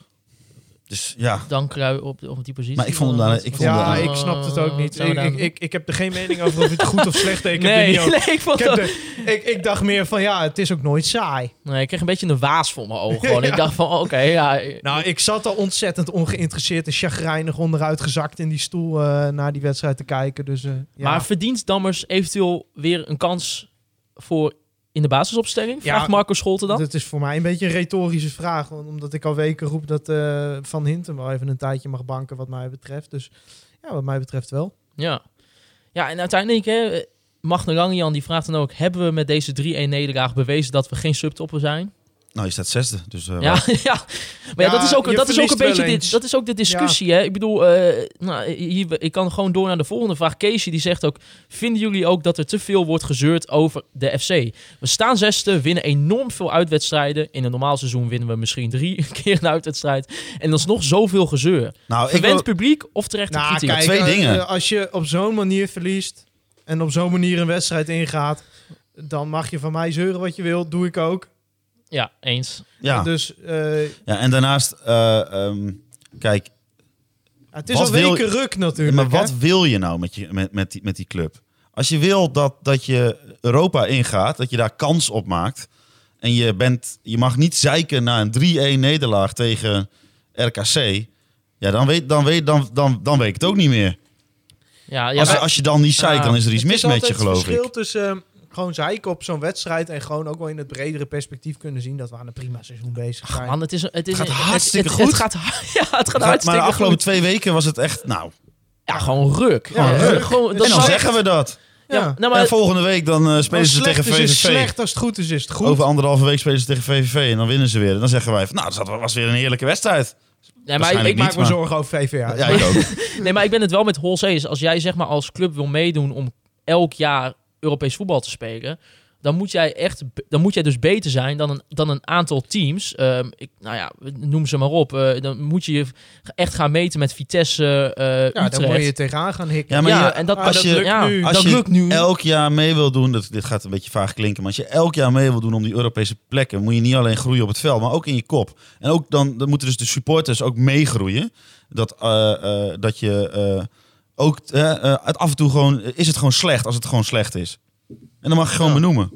dus ja,
dan krui op, op die positie.
Maar ik vond hem daar-
Wat-
ik
wat-
vond hem
Ja,
daar-
ik snap het ook niet.
Wat zijn
Ik,
we
ik,
daar-
ik, ik heb er geen mening over of het goed of slecht is. Ik, heb er
nee,
niet over-
nee, ik vond
ik, heb
dat-
er- ik, ik dacht meer van, ja, het is ook nooit saai.
Nee, ik kreeg een beetje een waas voor mijn ogen. Gewoon. Ik dacht van, oké, ja.
Nou, ik zat al ontzettend ongeïnteresseerd en chagrijnig onderuit gezakt in die stoel eh, naar die wedstrijd te kijken. Dus, eh, ja.
Maar verdient Dammers eventueel weer een kans voor in de basisopstelling?
Ja,
Vraagt Marco Scholte dan?
Dat is voor mij een beetje een retorische vraag. want- Omdat ik al weken roep dat eh, Van Hintem wel even een tijdje mag banken wat mij betreft. Dus ja, wat mij betreft wel.
Ja. Ja, en uiteindelijk, hè, Magne Langejan die vraagt dan ook... Hebben we met deze 3-1-nederlaag bewezen dat we geen subtopper zijn?
nou, je staat zesde. Dus
Ja,
eh,
ja. Maar ja,
Ja,
dat is ook,
je
dat is ook een
verliest wel
beetje
eens.
dit, dat is ook de discussie. Hè? Ik bedoel, eh, nou, hier, ik kan gewoon door naar de volgende vraag. Casey die zegt ook: Vinden jullie ook dat er te veel wordt gezeurd over de FC? We staan zesde, winnen enorm veel uitwedstrijden. In een normaal seizoen winnen we misschien drie keer een uitwedstrijd. En dan is nog zoveel gezeur.
nou, ik wil,
Verwend publiek of terechte
Nou,
kritiek?
kijk,
Twee
eh,
dingen.
eh, als je op zo'n manier verliest en op zo'n manier een wedstrijd ingaat, dan mag je van mij zeuren wat je wilt. Doe ik ook.
Ja, eens.
ja.
Dus eh,
ja, en daarnaast, eh, ehm, kijk,
het is
Wat
al
wil-
weken ruk natuurlijk.
maar wat
hè.
wil je nou met, je, met, met, die, met die club? Als je wil dat, dat je Europa ingaat, dat je daar kans op maakt. En je, bent, je mag niet zeiken na een 3-1 nederlaag tegen RKC. Ja, dan weet, dan, weet, dan, dan, dan weet ik het ook niet meer.
Ja, ja,
Als,
maar-
als je dan niet zeikt, dan is er iets
Het
mis met je,
altijd
geloof
Het verschil
ik.
tussen eh, gewoon zeiken op zo'n wedstrijd en gewoon ook wel in het bredere perspectief kunnen zien dat we aan een prima seizoen bezig zijn.
man, het, is, het, is,
gaat hartstikke
het, het,
goed.
gaat, har- ja, het gaat
Maar, maar
hartstikke
de afgelopen
goed.
twee weken was het echt, nou...
Ja, gewoon ruk.
Ja,
Gewoon
ruk.
Gewoon,
En
dat
En dan
zou-
zeggen we dat.
ja,
Ja.
nou, maar,
en volgende week dan eh, spelen
Als
ze tegen
slecht is, is
VVV.
slecht, als het goed is, is het goed.
Over anderhalve week spelen ze tegen VVV en dan winnen ze weer. En dan zeggen wij, van, nou, dat was- was weer een heerlijke wedstrijd.
nee, maar ik,
waarschijnlijk
ik
Ik
maak
maak
niet,
me
maar-
zorgen over VVA.
Ja, ik ook.
Nee, maar ik ben het wel met Hols eens. Als jij zeg maar als club wil meedoen om elk jaar Europees voetbal te spelen, dan moet jij echt, dan moet jij dus beter zijn dan een, dan een aantal teams. Ehm, ik, nou ja, noem ze maar op. Eh, dan moet je je echt gaan meten met Vitesse, eh
Ja,
Utrecht.
daar moet je tegenaan gaan hikken.
Ja, maar
Ja,
je-
en dat,
Ah,
als
dat
je-
lukt
ja,
nu.
Als
dat
je
lukt nu.
elk jaar mee wil doen, dat, dit gaat een beetje vaag klinken, maar als je elk jaar mee wil doen om die Europese plekken, moet je niet alleen groeien op het veld, maar ook in je kop. En ook dan, dan moeten dus de supporters ook meegroeien. Dat, eh, eh, dat je eh, ook eh, eh, het af en toe gewoon, is het gewoon slecht als het gewoon slecht is. En dan mag je gewoon benoemen.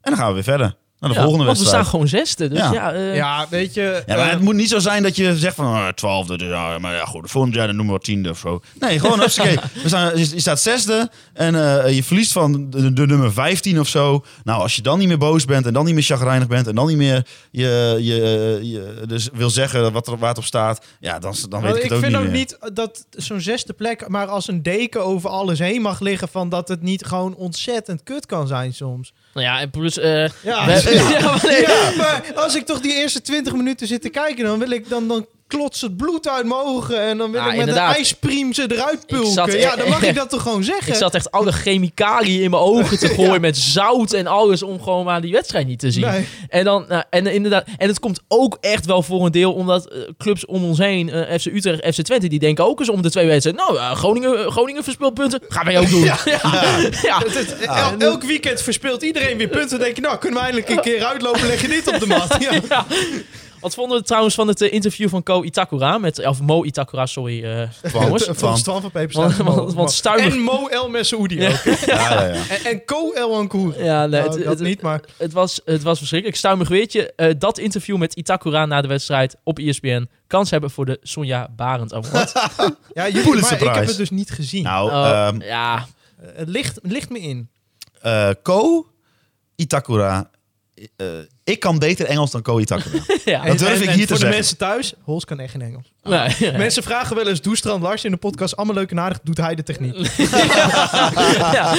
En dan gaan we weer verder. Naar de
Ja,
volgende
want we staan
wedstrijd.
gewoon zesde. Dus ja,
Ja.
eh,
Ja, weet je.
Ja, maar
eh,
het moet niet zo zijn dat je zegt van oh, twaalfde, dus, ja, maar ja, goed, volgend jaar dan noemen we tiende of zo. Nee, gewoon oké. We staan, je je staat zesde en eh, je verliest van de, de nummer 15 of zo. Nou, als je dan niet meer boos bent en dan niet meer chagrijnig bent en dan niet meer je, je, je dus wil zeggen wat er, waar het op staat, ja, dan, dan weet
nou,
ik
ik
het ook niet
vind ook
meer.
niet dat zo'n zesde plek maar als een deken over alles heen mag liggen van dat het niet gewoon ontzettend kut kan zijn soms.
nou ja, en plus eh,
Ja,
we,
het is
Ja, maar nee.
Ja, maar als ik toch die eerste 20 minuten zit te kijken, dan wil ik dan, dan klotst het bloed uit mijn ogen en dan wil
Ah,
ik met
inderdaad.
een ijspriem ze eruit pulken.
zat-
ja, dan mag ik dat toch gewoon zeggen.
Ik zat echt alle chemicaliën in mijn ogen te gooien met zout en alles om gewoon maar die wedstrijd niet te zien.
Nee.
En dan, nou, en eh, inderdaad, en het komt ook echt wel voor een deel omdat eh, clubs om ons heen, eh, FC Utrecht, FC Twente, die denken ook eens om de twee wedstrijden. Nou, eh, Groningen, Groningen verspeelt punten, gaan wij ook doen. Ja, ja.
Het- het-
Ah.
el- elk weekend verspeelt iedereen weer punten. Dan denk je, nou kunnen we eindelijk een keer uitlopen, leg je dit op de mat. Ja.
Ja. Wat vonden we trouwens van het eh, interview van Ko Itakura met, of Mo Itakura, sorry, eh jongens.
Volgens
Van.
Twan van Peperstraat.
Want, want, want Stuimer-
En Mo El Messeoudi ook.
Ja, ja, ja.
En, en Ko El Ankour.
Ja, nee,
Nou,
het-
dat
het-
niet, maar...
Het was, het was verschrikkelijk. Stuimig weertje. eh dat interview met Itakura na de wedstrijd op E ESPN. Kans hebben voor de Sonja Barend Award.
Ja, jullie,
Pulitzer
maar ik heb
Prize.
het dus niet gezien.
Nou,
Oh,
ehm,
ja,
Het ligt, ligt me in.
eh, Ko Itakura. Eh, ik kan beter Engels dan Ko Itakura.
ja.
Dat durf
En-
ik
en
hier te
Voor de
zeggen.
mensen thuis, Hols kan echt geen Engels.
Nee, ja.
Ah. Mensen vragen wel eens, doe Strand Lars in de podcast allemaal leuk en aardig, doet hij de techniek.
ja.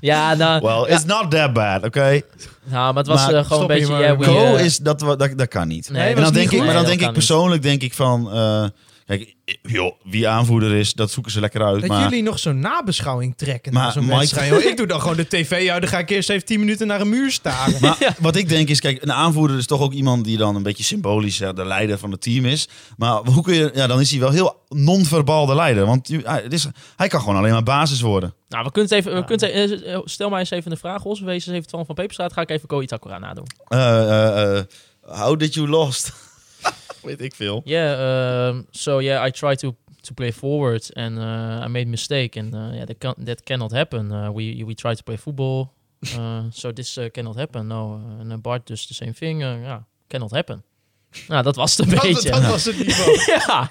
ja, nou,
Well, it's not that bad, oké?
nou, maar het was
Maar
eh, gewoon een
stop hier
beetje...
maar.
yeah, we,
Go
eh,
is, dat, wa- dat, dat kan niet.
Nee,
en
dat is
dan
niet
denk
goed.
ik, maar
Nee,
dan
dat
denk ik
kan niet.
persoonlijk denk ik van, eh, kijk, joh, wie aanvoerder is, dat zoeken ze lekker uit.
Dat
maar
jullie nog zo'n nabeschouwing trekken
Maar
naar zo'n
Mike-
wedstrijd. joh. Ik doe dan gewoon de tv uit, dan ga ik eerst even 10 minuten naar een muur staren.
maar wat ik denk is, kijk, een aanvoerder is toch ook iemand die dan een beetje symbolisch eh, de leider van het team is. Maar hoe kun je, ja, dan is hij wel heel non-verbaal de leider, want je- hij, het is, hij kan gewoon alleen maar basis worden.
Nou, we kunnen het even... We kunnen het, eh, eh, stel mij eens even de vraag, Os. Wees eens even Twan van Peperstraat. Ga ik even Ko Itakura nadoen.
Eh, eh, eh, how did you lost? Weet ik veel.
Yeah, um, so yeah, I tried to to play forward and uh, I made mistake and uh, yeah, that can that cannot happen. Uh, we we try to play football, uh, so this uh, cannot happen. No, uh, and uh, Bart does the same thing. Uh, yeah, cannot happen. Nou, dat was het een
dat,
beetje.
dat was het niveau.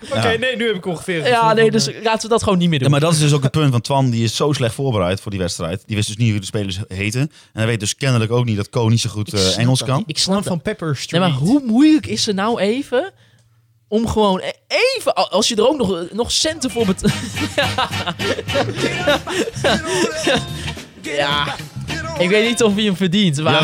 Oké,
ja,
nee, nu heb ik ongeveer... het gevoel
ja, nee,
van,
dus
eh,
laten we dat gewoon niet meer
Ja,
doen.
maar dat is dus ook het punt van Twan. Die is zo slecht voorbereid voor die wedstrijd. Die wist dus niet hoe de spelers heten. En hij weet dus kennelijk ook niet dat Ko niet zo goed
Ik
eh,
snap
Engels
dat
kan.
niet. Ik snap
Twan
van.
van Pepper Street.
Nee, maar hoe moeilijk is er nou even om gewoon e- even, a- als je er ook nog, nog centen voor bet. ja. Ik weet niet of je hem verdient. Maar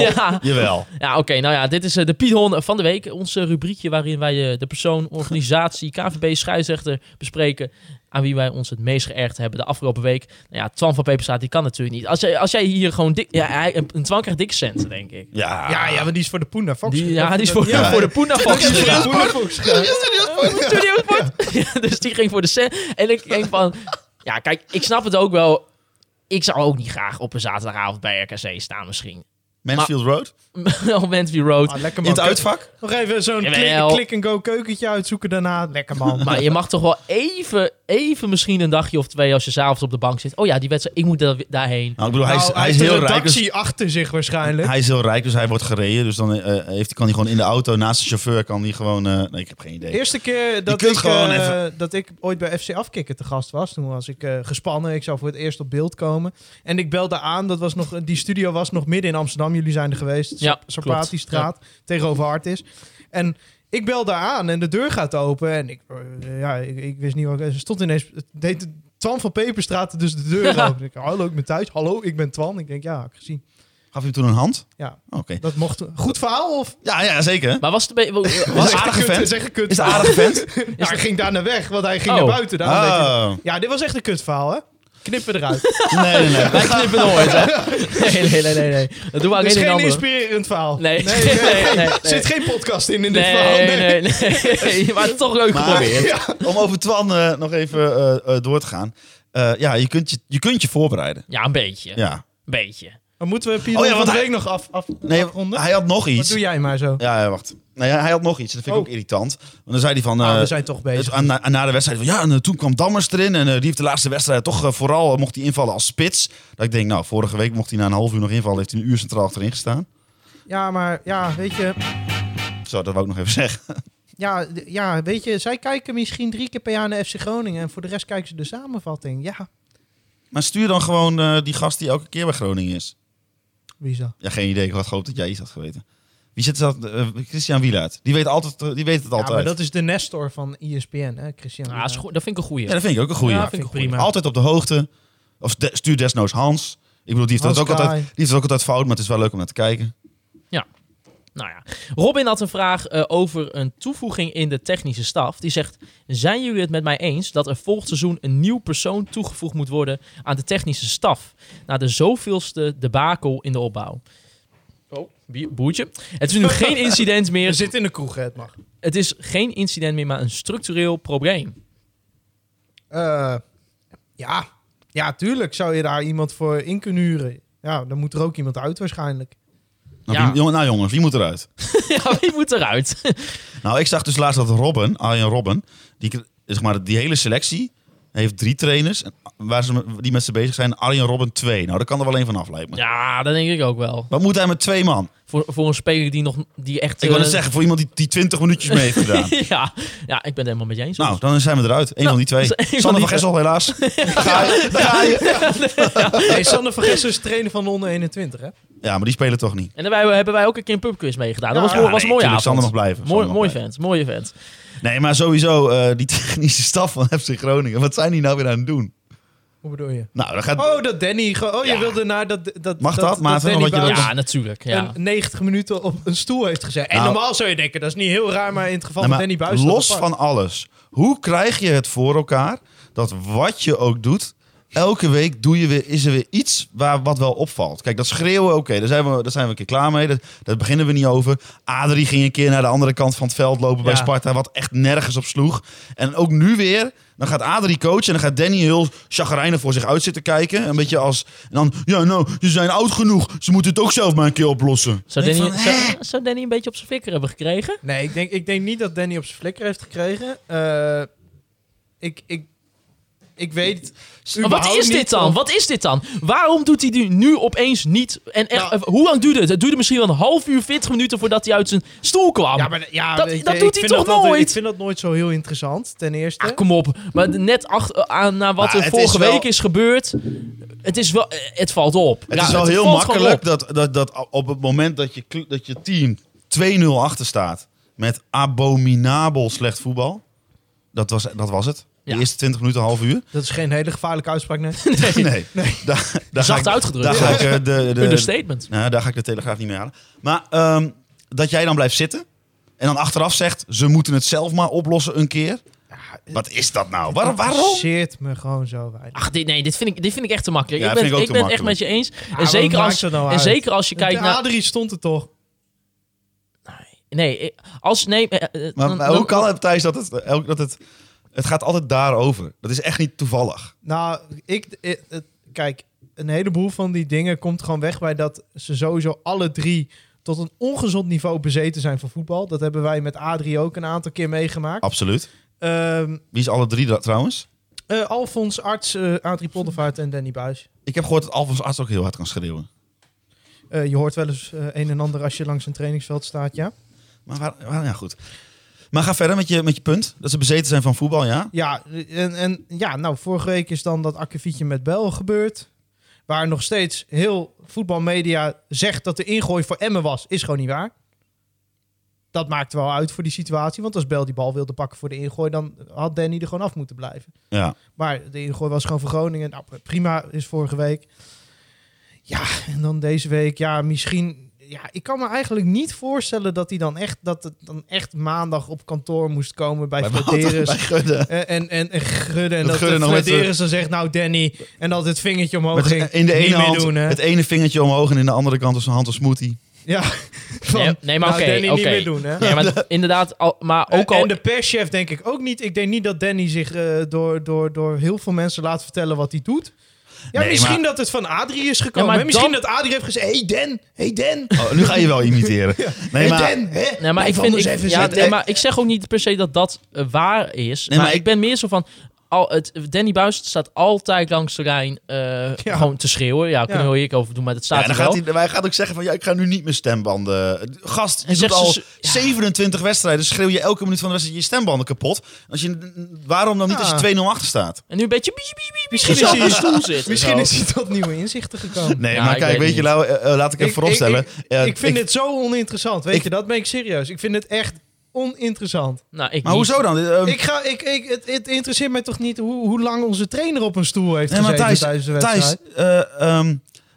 ja.
Jawel.
Ja, oké. nou ja, dit is eh, de Piet Hon van de week. Ons eh, rubriekje waarin wij eh, de persoon, organisatie, KVB, scheidsrechter bespreken. Aan wie wij ons het meest geërgerd hebben de afgelopen week. Nou ja, Twan van Peperstraat, die kan natuurlijk niet. Als jij, als jij hier gewoon dik... Ja, hij, een, een Twan krijgt dik centen, denk ik.
Ja.
Ja, ja, want die is voor de Poenda Fox.
Die, ja, die is voor, voor de Poena Fox
Die is voor de
gegaan.
Poenda Fox gegaan.
Studio Sport. Ja, dus die ging voor de set. En ik denk van... Ja, kijk, ik snap het ook wel. Ik zou ook niet graag op een zaterdagavond bij RKC staan misschien.
Mansfield Road.
op Mantview Road.
Ah, lekker
In
man.
het uitvak.
Nog even zo'n
Jawel.
klik- klik-and-go keukentje uitzoeken daarna. Lekker man.
Maar je mag toch wel even, even misschien een dagje of twee als je s'avonds op de bank zit. Oh ja, die wedstrijd, ik moet daar, daarheen.
Nou, ik bedoel, hij, is,
Nou,
hij is
de
heel rijk.
redactie
Dus,
achter zich waarschijnlijk.
hij is heel rijk, dus hij wordt gereden. Dus dan eh, heeft, kan hij gewoon in de auto naast de chauffeur. Kan hij gewoon. eh, nee, ik heb geen idee.
Eerste keer dat
kunt
ik,
gewoon
eh, dat ik ooit bij FC Afkikken te gast was. Toen was ik eh, gespannen. Ik zou voor het eerst op beeld komen. En ik belde aan. Dat was nog, die studio was nog midden in Amsterdam. Jullie zijn er geweest.
Ja,
Sar- Sarpatiestraat. Tegenover Artis. En ik belde aan en de deur gaat open. En ik, eh, ja, ik, ik wist niet waar ik... Ze stond ineens... het Deed Twan van Peperstraat dus de deur open. Ik, hallo, ik ben thuis. Hallo, ik ben Twan. Ik denk, ja, heb ik gezien.
Gaf hij hem toen een hand? Oh,
Ja,
Oké.
dat mocht... Goed verhaal of...
Ja, ja, zeker.
Maar was het een beetje... Was,
Was het aardige
Kut,
vent?
zeg een kut.
Is het een aardige vent?
Ja, hij ging daarna weg, want hij ging
Oh.
naar buiten. Daarom deed hij-
Ah.
Ja, dit was echt een kutverhaal, hè? Knippen eruit. Het
Nee, nee, nee.
wij knippen nooit, hè? Nee, nee, nee, nee. nee. Dat doen we aan
is
geen
geen
ander.
inspirerend verhaal.
Nee,
nee,
nee,
nee,
nee, nee.
Er zit geen podcast in in dit
Nee,
verhaal.
nee, nee, nee. Maar toch leuk
Maar
geprobeerd.
om over Twan eh, nog even eh, eh, door te gaan. Eh, ja, je kunt je, je kunt je voorbereiden.
Ja, een beetje. Een
Ja.
beetje.
Maar moeten we Pieter
Oh ja,
van
want
de
hij-
week nog af, af,
Nee,
afronden?
hij had nog
Wat
iets.
doe jij maar zo?
Ja, ja, wacht. Nou ja, hij had nog iets. Dat vind ik
Oh.
ook irritant. Want dan zei hij van... eh,
Ah, we zijn toch
het-
bezig.
aan- na, na de wedstrijd van... Ja, en eh, toen kwam Dammers erin. En eh, die heeft de laatste wedstrijd toch eh, vooral... eh, mocht hij invallen als spits. Dat ik denk, nou, vorige week mocht hij na een half uur nog invallen. Heeft hij een uur centraal achterin gestaan.
Ja, maar ja, weet je...
Zo, dat wou ik nog even zeggen.
Ja, d- ja, weet je, zij kijken misschien drie keer per jaar naar FC Groningen. En voor de rest kijken ze de samenvatting. Ja,
Maar stuur dan gewoon eh, die gast die elke keer bij Groningen is.
wie is dat?
Ja, geen idee. Ik had gehoopt dat jij iets had geweten. Wie zit dat? Eh, Christian Wielaert. Die weet, altijd, eh, die weet het altijd.
Ja, maar dat is de Nestor van E ESPN, hè, Christian.
Ja, is goed. dat vind ik een goeie.
Ja, dat vind ik ook een goeie.
Ja, vind ik prima.
Altijd op de hoogte. Of de- stuur desnoods Hans. Ik bedoel, die heeft, dat
Hans
ook altijd,
Kaai.
die heeft dat ook altijd fout, maar het is wel leuk om naar te kijken.
Nou ja, Robin had een vraag eh, over een toevoeging in de technische staf. Die zegt: Zijn jullie het met mij eens dat er volgend seizoen een nieuw persoon toegevoegd moet worden aan de technische staf? Na de zoveelste debakel in de opbouw. Oh, bie- boertje. Het is nu geen incident
Je
meer.
zit in de kroeg, hè, het mag.
Het is geen incident meer, maar een structureel probleem.
Eh, ja. ja, tuurlijk zou je daar iemand voor in kunnen huren. Ja, dan moet er ook iemand uit waarschijnlijk.
Nou,
Ja.
wie- jongen- nou jongens, wie moet eruit?
ja, wie moet eruit?
Nou, ik zag dus laatst dat Robin, Arjen Robben, die, k- zeg maar, die hele selectie heeft drie trainers en waar ze, me- die met ze bezig zijn. Arjen Robben twee. Nou, dat kan er wel één van af, lijkt me.
ja, dat denk ik ook wel.
Wat moet hij met twee man?
Voor, voor een speler die nog die echt.
Ik wil
eh,
het zeggen, voor iemand die, die 20 minuutjes mee heeft gedaan.
ja, ja, ik ben het helemaal met je eens.
Nou, dan zijn we eruit. Eén van die twee.
dat is één van
Sander
die
van Gessel, helaas. Daar ga je, daar ga je.
Nee, Sander van Gessel is trainer van de onder 21, hè?
Ja, maar die spelen toch niet.
En daarbij hebben wij ook een keer een pubquiz meegedaan. Dat
Ja,
was, mooi-
ja,
was een
nee,
mooie
tuurlijk,
avond.
Sander mag blijven.
Mooi,
Sander mag
mooi
blijven.
vent, mooi vent.
Nee, maar sowieso, eh, die technische staf van FC Groningen. Wat zijn die nou weer aan het doen?
Hoe bedoel je?
Nou, dan gaat...
Oh, dat Danny... ge- Oh, je
Ja.
wilde naar dat... dat
Mag dat, Maarten,
Danny
omdat je dat-
Buis
Ja, natuurlijk. Ja.
een 90 minuten op een stoel heeft gezet. En
Nou-
normaal zou je denken, dat is niet heel raar, maar in het geval
Nee,
van
Nou, maar
Danny Buis...
los van alles. Hoe krijg je het voor elkaar dat wat je ook doet... Elke week doe je weer, is er weer iets waar, wat wel opvalt. Kijk, dat schreeuwen, oké, daar, zijn we- daar zijn we een keer klaar mee. Daar, daar beginnen we niet over. Adrie ging een keer naar de andere kant van het veld lopen bij
Ja.
Sparta... wat echt nergens op sloeg. En ook nu weer, dan gaat Adrie coachen... en dan gaat Danny heel chagrijnig voor zich uit zitten kijken. Een beetje als, en dan, ja nou, ze zijn oud genoeg. Ze moeten het ook zelf maar een keer oplossen.
Zou,
Ik
Danny,
van,
zou, zou Danny een beetje op zijn fikker hebben gekregen?
Nee, ik denk, ik denk niet dat Danny op zijn flikker heeft gekregen. Eh, ik, ik, ik weet...
Maar wat
überhaupt
is dit
niet
dan?
of-
Wat is dit dan? Waarom doet hij nu- nu opeens niet... En echt,
Nou-
eh, hoe lang duurde het? Het duurde misschien wel een half uur, 40 minuten voordat hij uit zijn stoel kwam.
Ja, maar ja,
Dat-
weet je,
dat
ik
doet hij
vind
toch
dat altijd-
nooit?
Ik vind dat nooit zo heel interessant, ten eerste.
Ah, kom op. Maar net ach- aan, na wat
Maar
er
het
vorige
is wel-
week is gebeurd... Het, is wel, eh, het valt op.
Het
Ja,
is wel heel
valt gewoon
makkelijk
op.
dat, dat, dat op het moment dat je, cl- dat je team 2-0 achter staat met abominabel slecht voetbal. Dat was, dat was het.
Ja.
De eerste 20 minuten, een half uur.
Dat is geen hele gevaarlijke uitspraak, nee.
Nee. Daar, daar ga
Zacht
ik,
uitgedrukt.
Daar ga ik, eh, de, de,
Understatement.
nou, daar ga ik de Telegraaf niet mee halen. Maar ehm, dat jij dan blijft zitten en dan achteraf zegt... ze moeten het zelf maar oplossen een keer. Wat is dat nou? Waar-
Oh,
Dat
waarom?
interesseert me gewoon zo weinig.
Ach, dit, nee, dit vind, ik, dit vind ik echt te makkelijk.
Ja,
ik ben,
vind ik ook
ik
te
ben het echt met je eens. En,
wat
zeker,
maakt
als,
dat nou
en
uit?
zeker als je kijkt
De
naar...
Adrie stond er toch?
Nee, eh, als... Nee, eh, eh,
Maar,
dan-
maar
dan-
hoe kan het, Thijs, dat het... eh, Dat het het gaat altijd daarover. Dat is echt niet toevallig.
Nou, ik, eh, eh, kijk, een heleboel van die dingen komt gewoon weg bij dat ze sowieso alle drie tot een ongezond niveau bezeten zijn van voetbal. Dat hebben wij met Adrie ook een aantal keer meegemaakt.
Absoluut.
Ehm
Wie is alle drie dat trouwens?
eh, Alfons, Arts, eh, Adrie Poldervaart en Danny Buis.
Ik heb gehoord dat Alfons Arts ook heel hard kan schreeuwen.
Eh, je hoort wel eens eh, een en ander als je langs een trainingsveld staat, ja?
Maar waar, waar- ja, goed. Maar ga verder met je, met je punt. Dat ze bezeten zijn van voetbal, ja.
Ja, en, en ja, nou, vorige week is dan dat akkefietje met Bel gebeurd. Waar nog steeds heel voetbalmedia zegt dat de ingooi voor Emmen was, is gewoon niet waar. Dat maakt wel uit voor die situatie. Want als Bel die bal wilde pakken voor de ingooi, dan had Danny er gewoon af moeten blijven.
Ja.
Maar de ingooi was gewoon voor Groningen. Nou, prima is vorige week. Ja, en dan deze week, ja, misschien. Ja, ik kan me eigenlijk niet voorstellen dat hij dan echt, dat het dan echt maandag op kantoor moest komen bij, bij
Wouter, bij Gudde.
en, Eh, en, en, en Gudde. En
Dat
dat,
Gudde nog
dat
met de-
Flederis dan zegt, nou Danny. En dat het vingertje omhoog
Met-
ging.
in de
Niet
ene
meer
hand
doen, hè?
het ene vingertje omhoog en in de andere kant zijn hand een smoothie.
Ja. Van,
Nee, nee, maar
nou,
oké,
Danny
oké.
niet meer doen, hè?
Ja, maar inderdaad, al, maar ook al...
En de perschef denk ik ook niet. Ik denk niet dat Danny zich eh, door, door, door heel veel mensen laat vertellen wat hij doet. Ja,
Nee,
misschien
maar-
dat het van Adrie is gekomen.
Ja, maar
hè? misschien
dan-
dat Adrie heeft gezegd... hey Dan, hey Dan,
Oh, nu ga je wel imiteren. Nee,
hey
maar,
Dan. Hè?
Nee, maar ik,
Blijf
vind,
anders
ik-
even
ja,
zitten.
nee, maar ik zeg ook niet per se dat dat eh, waar is.
Nee,
maar
maar
ik
ik-
ben meer zo van... Al, het, Danny Buis staat altijd langs de lijn eh,
Ja.
gewoon te schreeuwen. Ja, kunnen
Ja.
we hier ook over doen, maar dat
ja,
staat
dan
er wel.
gaat hij, maar hij gaat ook zeggen van, ja, ik ga nu niet mijn stembanden... Gast, je
Hij
doet
zegt
al
ze-
27 wedstrijden, schreeuw je elke minuut van de wedstrijd je stembanden kapot. Als je, waarom dan niet als je 2-0 achter staat?
En nu een beetje... bies, bies, bies,
Misschien
bies
is
op
hij-
de stoel zitten.
Misschien
zo.
is hij tot nieuwe inzichten gekomen.
Nee,
Ja,
maar
ik
kijk,
weet
weet je,
niet.
nou, eh, eh, laat ik even vooropstellen.
Ik, ik,
Eh,
ik vind het zo oninteressant. Weet
ik-
je, dat ben ik serieus. Ik vind het echt oninteressant.
Nou, ik
Maar
niet.
hoezo dan? Eh,
Ik ga, ik, ik, het, het interesseert mij toch niet hoe, hoe lang onze trainer op een stoel heeft
Nee, maar
gezeten
Thijs,
tijdens de
Thijs
wedstrijd.
eh, ehm,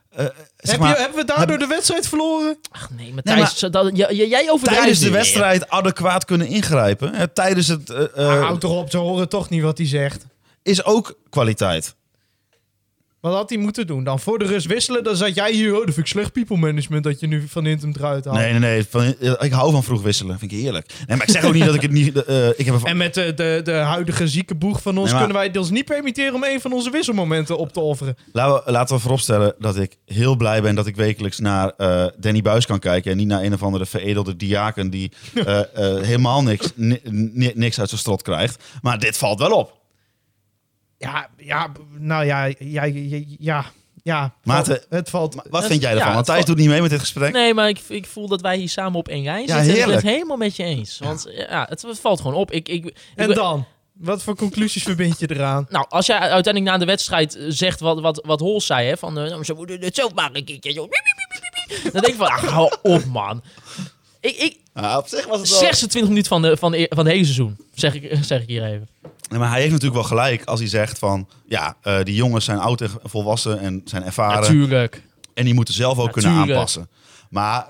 eh, zeg
Heb
maar,
je, hebben we daardoor de wedstrijd verloren?
Ach nee, Matthijs,
maar-
dat- ja, ja, jij overdrijft
tijdens de
weer.
wedstrijd adequaat kunnen ingrijpen. hè, tijdens het eh, eh,
Ah, Houd toch op, ze horen toch niet wat hij zegt.
is ook kwaliteit.
Wat had hij moeten doen dan? Voor de rust wisselen, dan zat jij hier... Oh, dat vind ik slecht people management dat je nu Van Hintem eruit haalt.
Nee, nee, nee. van- eh, ik hou van vroeg wisselen. Vind ik heerlijk. Nee, maar ik zeg ook niet dat ik het niet... eh, ik heb een-
En met de, de, de huidige zieke boeg van ons...
Nee, maar-
kunnen wij het ons niet permitteren om een van onze wisselmomenten op te offeren.
Laten we, laten we vooropstellen dat ik heel blij ben dat ik wekelijks naar eh, Danny Buis kan kijken. En niet naar een of andere veredelde diaken die eh, eh, helemaal niks, ni- ni- niks uit zijn strot krijgt. Maar dit valt wel op.
Ja, ja, b- nou ja, ja, ja, ja. ja.
Maarten-
Valt- het valt...
Wat vind jij
ja,
ervan? Want
het
Thijs doet niet mee met dit gesprek.
Nee, maar ik, ik voel dat wij hier samen op één rij
Ja,
zitten. Ik ben het
heerlijk.
helemaal met je eens. Want eh, ja, het, het valt gewoon op. Ik, ik, ik-
en dan? Wat voor conclusies verbind je eraan?
Nou, als jij uiteindelijk na de wedstrijd eh, zegt wat, wat, wat Hol zei, hè, van eh, nou, ze moeten het zelf maar een keertje zo. wiep, wiep, wiep, wiep, wiep. Dan denk ik van, ah, hou op man. Ik, ik,
Ah, op zich was het wel...
26 minuten van, de, van, de, van het hele seizoen, zeg ik, eh, zeg ik hier even.
Nee, maar hij heeft natuurlijk wel gelijk als hij zegt van... Ja, eh, die jongens zijn oud en volwassen en zijn ervaren.
Natuurlijk.
En die moeten zelf ook kunnen
Natuurlijk.
aanpassen. Maar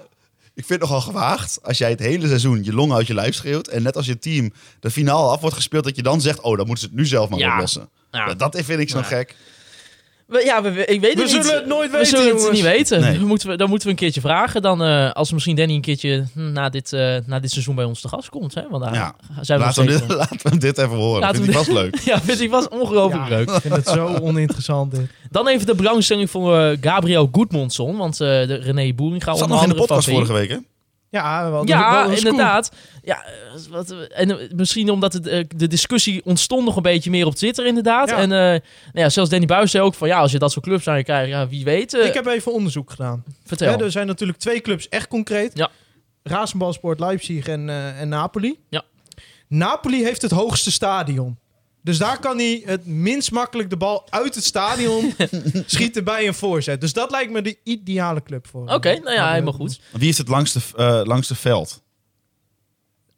ik vind het nogal gewaagd als jij het hele seizoen je long uit je lijf schreeuwt. En net als je team de finale af wordt gespeeld, dat je dan zegt: Oh, dan moeten ze het nu zelf maar
Ja.
oplossen.
Ja.
Dat- Dat vind ik zo
Ja.
gek.
Nou, We- ja, we, we- ik weet het
We
niet.
zullen het nooit
We
weten,
zullen het
jongens.
niet weten.
Nee.
Dan Moeten we, dan moeten we een keertje vragen. Dan, eh, als misschien Danny een keertje hm, na dit, eh, na dit seizoen bij ons te gast komt. Hè? Want daar
Ja.
zijn we
Laten we,
nog
dit,
steeds-
laten we hem dit even horen.
Laten
vind
we
ik vast leuk.
Ja, vind ik was ongelooflijk
Ja,
leuk.
Ik vind het zo oninteressant dit.
Dan even de belangstelling voor eh, Gabriel Goedmondson. Want eh, de René Boeringa
Zat
onder
nog in de
andere
podcast
favoriet.
vorige week, hè?
Ja, wel,
Ja,
wel een scoop.
inderdaad. Ja, eh, wat, eh, en eh, misschien omdat het, eh, de discussie ontstond nog een beetje meer op Twitter, inderdaad.
Ja.
En eh, nou ja, zelfs Danny Buijs zei ook van ja, als je dat soort clubs aan je krijgt, ja, wie weet. eh,
Ik heb dus- even onderzoek gedaan.
vertel.
Hè, er zijn natuurlijk twee clubs echt concreet.
Ja.
Razenbalsport Leipzig en, eh, en Napoli.
Ja.
Napoli heeft het hoogste stadion. Dus daar kan hij het minst makkelijk de bal uit het stadion schieten bij een voorzet. Dus dat lijkt me de ideale club voor.
Oké,
hem. eh,
nou ja, helemaal goed.
Wie heeft het langste, eh, langste veld?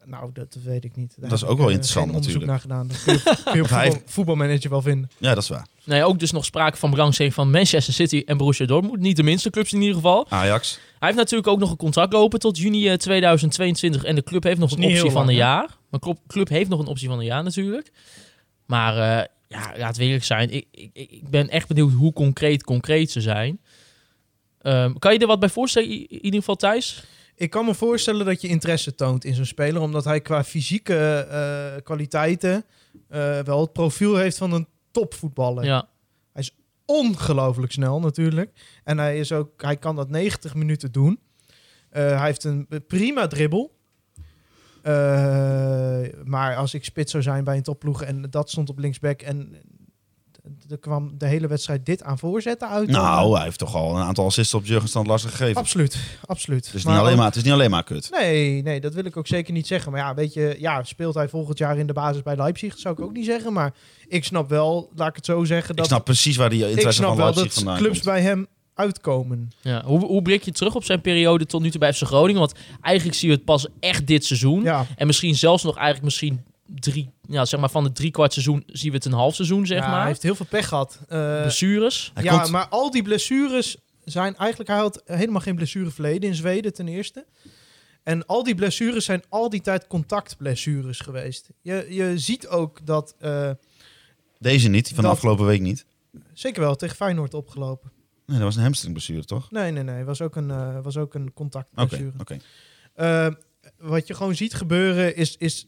Nou, dat weet ik niet. Daar
Dat is
heb
ook
ik,
wel
eh,
interessant
geen onderzoek
natuurlijk.
naar gedaan. Dat kun je, kun je op
Hij-
voetbal- voetbalmanager wel vinden.
Ja, dat is waar.
Nou ja, ook dus nog sprake van belangstelling van Manchester City en Borussia Dortmund. Niet de minste clubs in ieder geval.
Ajax.
Hij heeft natuurlijk ook nog een contract lopen tot juni eh, 2022. En de club heeft nog
is
een
niet
optie
heel
van een
lang,
jaar. Maar club, club heeft nog een optie van een jaar natuurlijk. Maar eh, ja, laat we eerlijk zijn. Ik, ik, ik ik ben echt benieuwd hoe concreet concreet ze zijn. Ehm, kan je er wat bij voorstellen, i- in ieder geval Thijs?
Ik kan me voorstellen dat je interesse toont in zo'n speler, omdat hij qua fysieke eh, kwaliteiten eh, wel het profiel heeft van een topvoetballer.
Ja.
Ongelooflijk snel natuurlijk. En hij, is ook, hij kan dat 90 minuten doen. Eh, hij heeft een prima dribbel. Eh, maar als ik spits zou zijn bij een topploeg en dat stond op linksback en er kwam de hele wedstrijd dit aan voorzetten uit.
Nou, hij heeft toch al een aantal assists op Jurgen Stand Larsen gegeven.
absoluut,
Het
absoluut.
is, Dus niet alleen maar, het is niet alleen maar kut.
Nee, nee, dat wil ik ook zeker niet zeggen. Maar ja, weet je, ja, speelt hij volgend jaar in de basis bij Leipzig? Dat zou ik ook niet zeggen. Maar ik snap wel, laat ik het zo zeggen, dat
ik snap precies waar die
ik
interesse
snap
van
wel
Leipzig
dat
vandaan
clubs
komt.
bij hem uitkomen.
Ja. Hoe, hoe blik je terug op zijn periode tot nu toe bij FC Groningen? Want eigenlijk zien we het pas echt dit seizoen.
Ja,
En misschien zelfs nog eigenlijk misschien drie... Ja, zeg maar van het driekwart seizoen zien we het een half seizoen, zeg
Ja,
maar.
hij heeft heel veel pech gehad. Eh,
Blessures.
Hij
ja,
komt-
maar al die blessures zijn eigenlijk... Hij had helemaal geen blessureverleden in Zweden ten eerste. En al die blessures zijn al die tijd contactblessures geweest. Je, je ziet ook dat... eh,
Deze niet, van de
dat-
afgelopen week niet.
zeker wel tegen Feyenoord opgelopen.
Nee, dat was een hamstringblessure, toch?
Nee, nee, nee. Was ook een, eh, was ook een
Oké,
contactblessure.
oké.
Eh, wat je gewoon ziet gebeuren is, is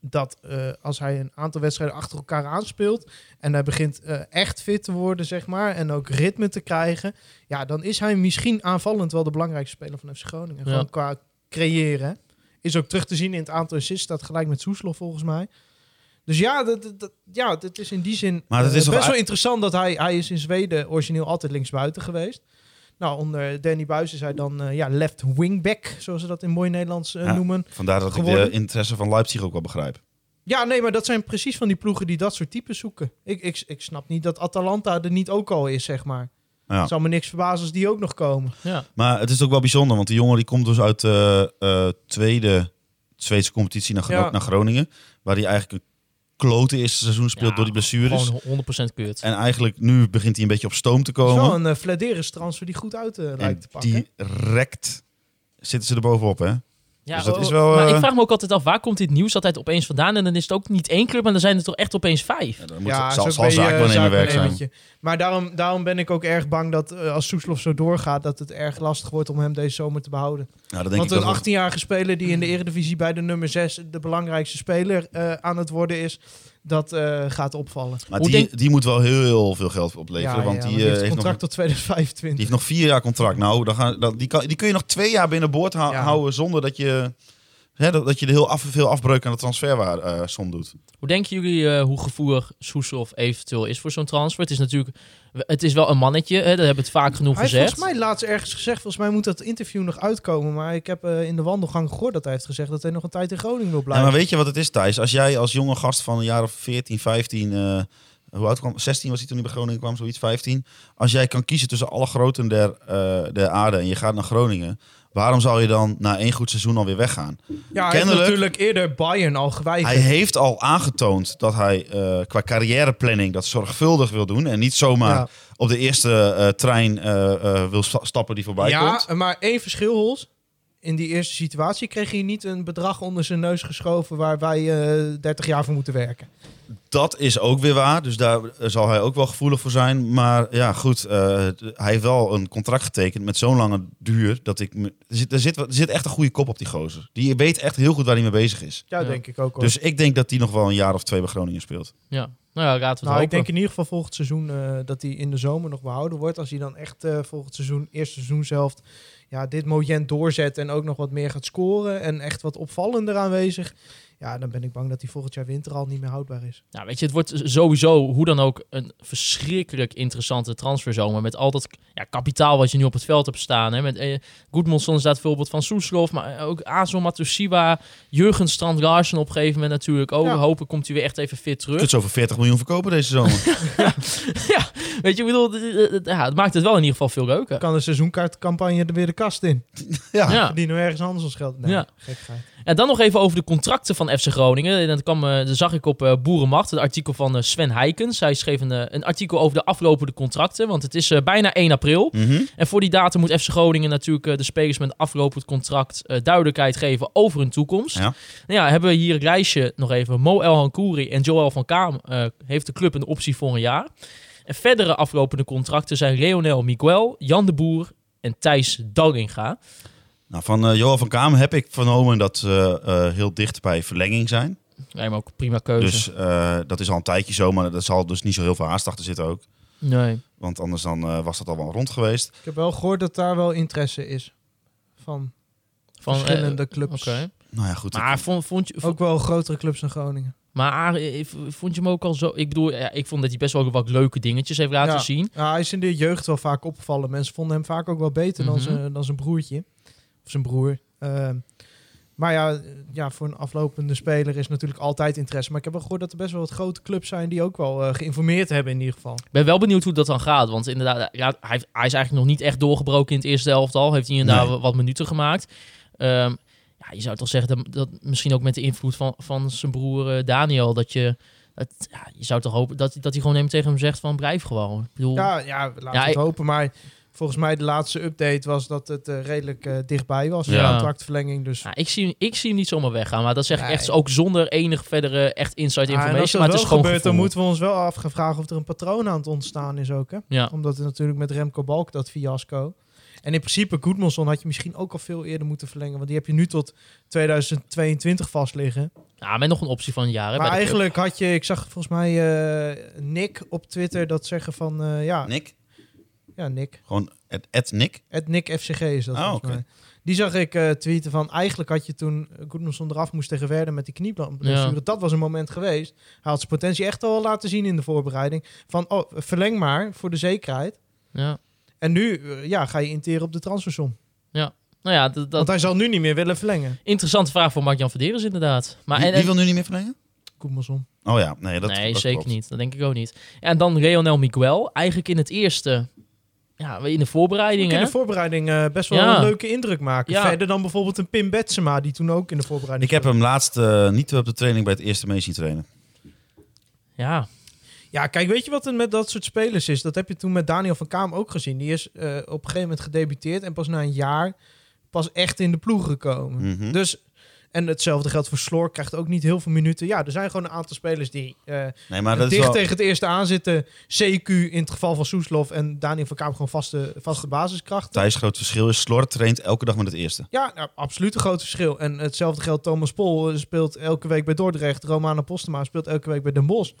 dat eh, als hij een aantal wedstrijden achter elkaar aanspeelt en hij begint eh, echt fit te worden, zeg maar, en ook ritme te krijgen, ja, dan is hij misschien aanvallend wel de belangrijkste speler van FC Groningen.
Ja.
Gewoon qua creëren. hè. Is ook terug te zien in het aantal assists, staat gelijk met Soeslof volgens mij. Dus ja, dat, dat- dat, ja, dat is in die zin
Maar dat
eh,
is toch
best wel
ei-
interessant dat hij, hij is in Zweden origineel altijd linksbuiten geweest. Nou, onder Danny Buis is hij dan eh, ja, left wingback, zoals ze dat in mooi Nederlands eh,
Ja.
noemen.
Vandaar dat ik
geworden.
de interesse van Leipzig ook wel begrijp.
Ja, nee, maar dat zijn precies van die ploegen die dat soort types zoeken. Ik, ik, ik snap niet dat Atalanta er niet ook al is, zeg maar.
Ja.
Het zou me niks verbazen als die ook nog komen.
Ja.
Maar het is ook wel bijzonder, want die jongen die komt dus uit de eh, tweede Zweedse competitie naar, Gro-
Ja.
naar Groningen. Waar hij eigenlijk een klote eerste seizoen speelt
Ja,
door die blessures.
Gewoon 100% keurt.
En eigenlijk nu begint hij een beetje op stoom te
Het is
komen.
wel een uh, transfer die goed uit eh, lijkt
en
te pakken.
direct zitten ze er bovenop, hè?
Ja,
Dus dat
oh,
is wel,
maar
eh,
ik vraag me ook altijd af, waar komt dit nieuws altijd opeens vandaan? En dan is het ook niet één club, maar dan zijn er toch echt opeens vijf.
Ja, dan moet
Ja,
zal,
is
zal
ook bij, eh,
zaak wel in mijn werk zijn.
zaakwaarnemertje. Maar daarom, daarom ben ik ook erg bang dat eh, als Soeslof zo doorgaat, dat het erg lastig wordt om hem deze zomer te behouden.
Nou, dat denk ik
Want
ook
een
wel.
18-jarige speler die in de Eredivisie bij de nummer 6 de belangrijkste speler eh, aan het worden is, dat eh, gaat opvallen.
Maar
Hoe
die,
denk-
die moet wel heel veel geld opleveren. want die, eh,
heeft
heeft
een
nog,
contract tot 2025.
die heeft nog vier jaar contract. Nou, dan gaan, dan, die, kan, die kun je nog twee jaar binnenboord hou-
Ja.
houden zonder dat je, hè, dat, dat je er heel af, veel afbreuk aan de transferwaar eh, som doet.
Hoe denken jullie eh, hoe gevoelig Soeslof eventueel is voor zo'n transfer? Het is natuurlijk, het is wel een mannetje, hè, dat hebben we het vaak genoeg
Hij heeft
gezegd.
volgens mij laatst ergens gezegd, volgens mij moet dat interview nog uitkomen, maar ik heb eh, in de wandelgang gehoord dat hij heeft gezegd dat hij nog een tijd in Groningen wil
Ja,
blijven.
maar weet je wat het is, Thijs? Als jij als jonge gast van een jaar of 14, 15... eh, hoe oud kwam? 16 was hij toen hij bij Groningen kwam, zoiets, 15. Als jij kan kiezen tussen alle groten der, eh, der aarde en je gaat naar Groningen... waarom zou je dan na één goed seizoen alweer weggaan?
ja, hij heeft
kennelijk-
natuurlijk eerder Bayern al geweigerd.
Hij heeft al aangetoond dat hij eh, qua carrièreplanning dat zorgvuldig wil doen... en niet zomaar
Ja.
op de eerste eh, trein eh, eh, wil sta- stappen die voorbij
ja,
komt.
maar één verschil, Hols. In die eerste situatie kreeg hij niet een bedrag onder zijn neus geschoven waar wij eh, 30 jaar voor moeten werken.
Dat is ook weer waar, dus daar eh, zal hij ook wel gevoelig voor zijn. Maar ja, goed, eh, d- hij heeft wel een contract getekend met zo'n lange duur. Dat ik me- er, zit, er, zit, wat- er zit echt een goede kop op die gozer. Die weet echt heel goed waar hij mee bezig is.
Ja,
Ja.
denk ik ook. Hoor.
Dus ik denk dat hij nog wel een jaar of twee bij Groningen speelt.
Ja, nou ja, laten we
nou,
het
ik denk
hopen.
in ieder geval volgend seizoen eh, dat hij in de zomer nog behouden wordt. Als hij dan echt eh, volgend seizoen, eerste seizoen zelf, ja, dit moment doorzet en ook nog wat meer gaat scoren en echt wat opvallender aanwezig. Ja, dan ben ik bang dat hij volgend jaar winter al niet meer houdbaar is.
Nou, weet je, het wordt sowieso hoe dan ook een verschrikkelijk interessante transferzomer. Met al dat ja, kapitaal wat je nu op het veld hebt staan. Hè? Met eh, Goedmondson staat voorbeeld van Soeslof, maar eh, ook Azor Matusiwa, Jurgen Strand Larsen op een gegeven moment natuurlijk ook.
Ja.
Hopen komt hij weer echt even fit
Je
terug.
kunt zo voor 40 miljoen verkopen deze zomer.
Weet je, ik bedoel, d- d- d- ja, het maakt het wel in ieder geval veel leuker.
Kan de seizoenkaartcampagne er weer de kast in?
ja.
Ja.
Die nou ergens anders ons geld. Nee,
Ja.
gekheid.
En dan nog even over de contracten van FC Groningen. En Dat, kwam, eh, dat zag ik op eh, Boerenmacht, het artikel van eh, Sven Heikens. Hij schreef een, eh, een artikel over de aflopende contracten, want het is eh, bijna 1 april.
Mhm.
En voor die datum moet FC Groningen natuurlijk eh, de spelers met een aflopend contract eh, duidelijkheid geven over hun toekomst.
Ja.
Nou ja, hebben we hier een lijstje nog even. Mo El Hankouri en Joël van Kaam eh, heeft de club een optie voor een jaar. En verdere aflopende contracten zijn Leonel Miguel, Jan de Boer en Thijs Dallinga.
Nou, van eh, Johan van Kamer heb ik vernomen dat ze eh, heel dicht bij verlenging zijn.
Lijkt me ook een prima keuze.
Dus eh, dat is al een tijdje zo, maar er zal dus niet zo heel veel haast achter zitten ook.
Nee.
Want anders dan, eh, was dat al wel rond geweest.
Ik heb wel gehoord dat daar wel interesse is van
Van, eh,
verschillende clubs.
Oké.
Nou ja, goed. ik-
Maar vond, vond je... vond-
Ook wel grotere clubs dan Groningen.
Maar eh, vond je hem ook al zo... Ik bedoel, ja, ik vond dat hij best wel wat leuke dingetjes heeft laten
Ja.
zien.
Ja, hij is in de jeugd wel vaak opgevallen. Mensen vonden hem vaak ook wel beter
Mhm.
dan, zijn, dan zijn broertje. Of zijn broer. Ehm, maar ja, eh, ja, voor een aflopende speler is natuurlijk altijd interesse. Maar ik heb wel gehoord dat er best wel wat grote clubs zijn die ook wel eh, geïnformeerd hebben in ieder geval.
Ik ben wel benieuwd hoe dat dan gaat. Want inderdaad, ja, hij, heeft- hij is eigenlijk nog niet echt doorgebroken in het eerste helftal. Heeft hij inderdaad
Nee.
wat minuten gemaakt. Ehm, ja, je zou toch zeggen dat, dat misschien ook met de invloed van, van zijn broer eh, Daniel. Dat je, dat, ja, je zou toch hopen dat, dat hij gewoon even tegen hem zegt van blijf gewoon. Ik bedoel,
Ja, ja laten we
Ja,
het
ik-
hopen. Maar volgens mij de laatste update was dat het eh, redelijk eh, dichtbij was.
Ja.
De contractverlenging. Dus
nou, ik, zie, hem- ik zie hem niet zomaar weggaan. Maar dat zeg ik
Nee.
echt ook zonder enig verdere echt inside
Ja, Ah, en
information.
als dat
maar het
wel
is gewoon
gebeurt, dan
gevoel.
moeten we ons wel af gaan vragen of er een patroon aan het ontstaan is ook. Hè?
Ja.
Omdat het natuurlijk met Remco Balk dat fiasco. En in principe, Goodmanson had je misschien ook al veel eerder moeten verlengen. Want die heb je nu tot 2022 vast liggen.
Ja, met nog een optie van een jaar. hè, bij
maar
de club.
eigenlijk had je, ik zag volgens mij eh, Nick op Twitter dat zeggen van, eh, ja,
Nick?
ja, Nick.
Gewoon het, het Nick?
Het Nick FCG is dat
Ah,
volgens
oké.
mij. Die zag ik eh, tweeten van, eigenlijk had je toen Goodmanson eraf moest tegen Werder met die knieblessure.
Ja.
Dat was een moment geweest. Hij had zijn potentie echt al laten zien in de voorbereiding. Van, oh, verleng maar voor de zekerheid.
Ja.
En nu, eh, ja, ga je interen op de transfersom.
Nou ja, dat,
Want
dat
hij zal nu niet meer willen verlengen.
interessante vraag voor Mark-Jan Verderens inderdaad. Maar,
Wie,
en-
wie
en-
wil nu niet meer verlengen?
Koemelson.
Oh ja, nee, dat
nee,
dat
zeker
klopt.
niet. Dat denk ik ook niet. En dan Leonel Miguel. Eigenlijk in het eerste, ja, in de voorbereiding.
Ook in
Hè?
de voorbereiding eh, best wel
Ja.
een leuke indruk maken.
Ja.
Verder dan bijvoorbeeld een Pim Betsema, die toen ook in de voorbereiding
Ik heb
stond.
hem laatst eh, niet op de training bij het eerste mee zien trainen.
Ja,
Ja, kijk, weet je wat het met dat soort spelers is? Dat heb je toen met Daniel van Kaam ook gezien. Die is eh, op een gegeven moment gedebuteerd en pas na een jaar pas echt in de ploeg gekomen.
Mhm.
Dus, en hetzelfde geldt voor Sloor, krijgt ook niet heel veel minuten. Ja, er zijn gewoon een aantal spelers die eh,
Nee, maar dat is
dicht
wel...
tegen het eerste aan zitten. CQ in het geval van Soeslof en Daniel van Kaam gewoon vaste, vaste basiskrachten.
Thijs groot verschil is, Slor traint elke dag met het eerste.
Ja, nou, absoluut een groot verschil. En hetzelfde geldt Thomas Pol eh, speelt elke week bij Dordrecht. Romana Postema speelt elke week bij Den Bosch.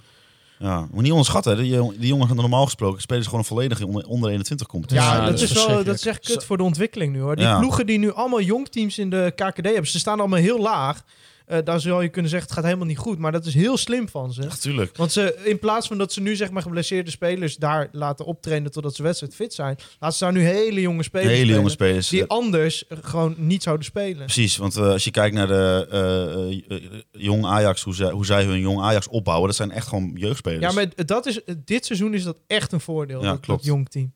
Ja, moet niet onderschatten. hè. Die, jongen- die jongen gaat normaal gesproken spelen ze gewoon een volledige onder, onder 21 competitie.
Ja,
Ja, dat
dat,
is
is wel,
verschrikkelijk.
dat is echt kut voor de ontwikkeling nu hoor. Die
Ja.
ploegen die nu allemaal jongteams in de KKD hebben, ze staan allemaal heel laag. Eh, daar zou je kunnen zeggen, het gaat helemaal niet goed. Maar dat is heel slim van ze.
natuurlijk.
Want ze, in plaats van dat ze nu zeg maar geblesseerde spelers daar laten optrainen totdat ze wedstrijd fit zijn, laten ze daar nu hele jonge spelers
Hele
spelen
jonge spelers.
die anders eh, gewoon niet zouden spelen.
Precies, want eh, als je kijkt naar de eh, eh, eh, jong Ajax, hoe zij, hoe zij hun jong Ajax opbouwen, dat zijn echt gewoon jeugdspelers.
Ja, maar dat is, dit seizoen is dat echt een voordeel,
Ja,
dat, dat
klopt.
jong team.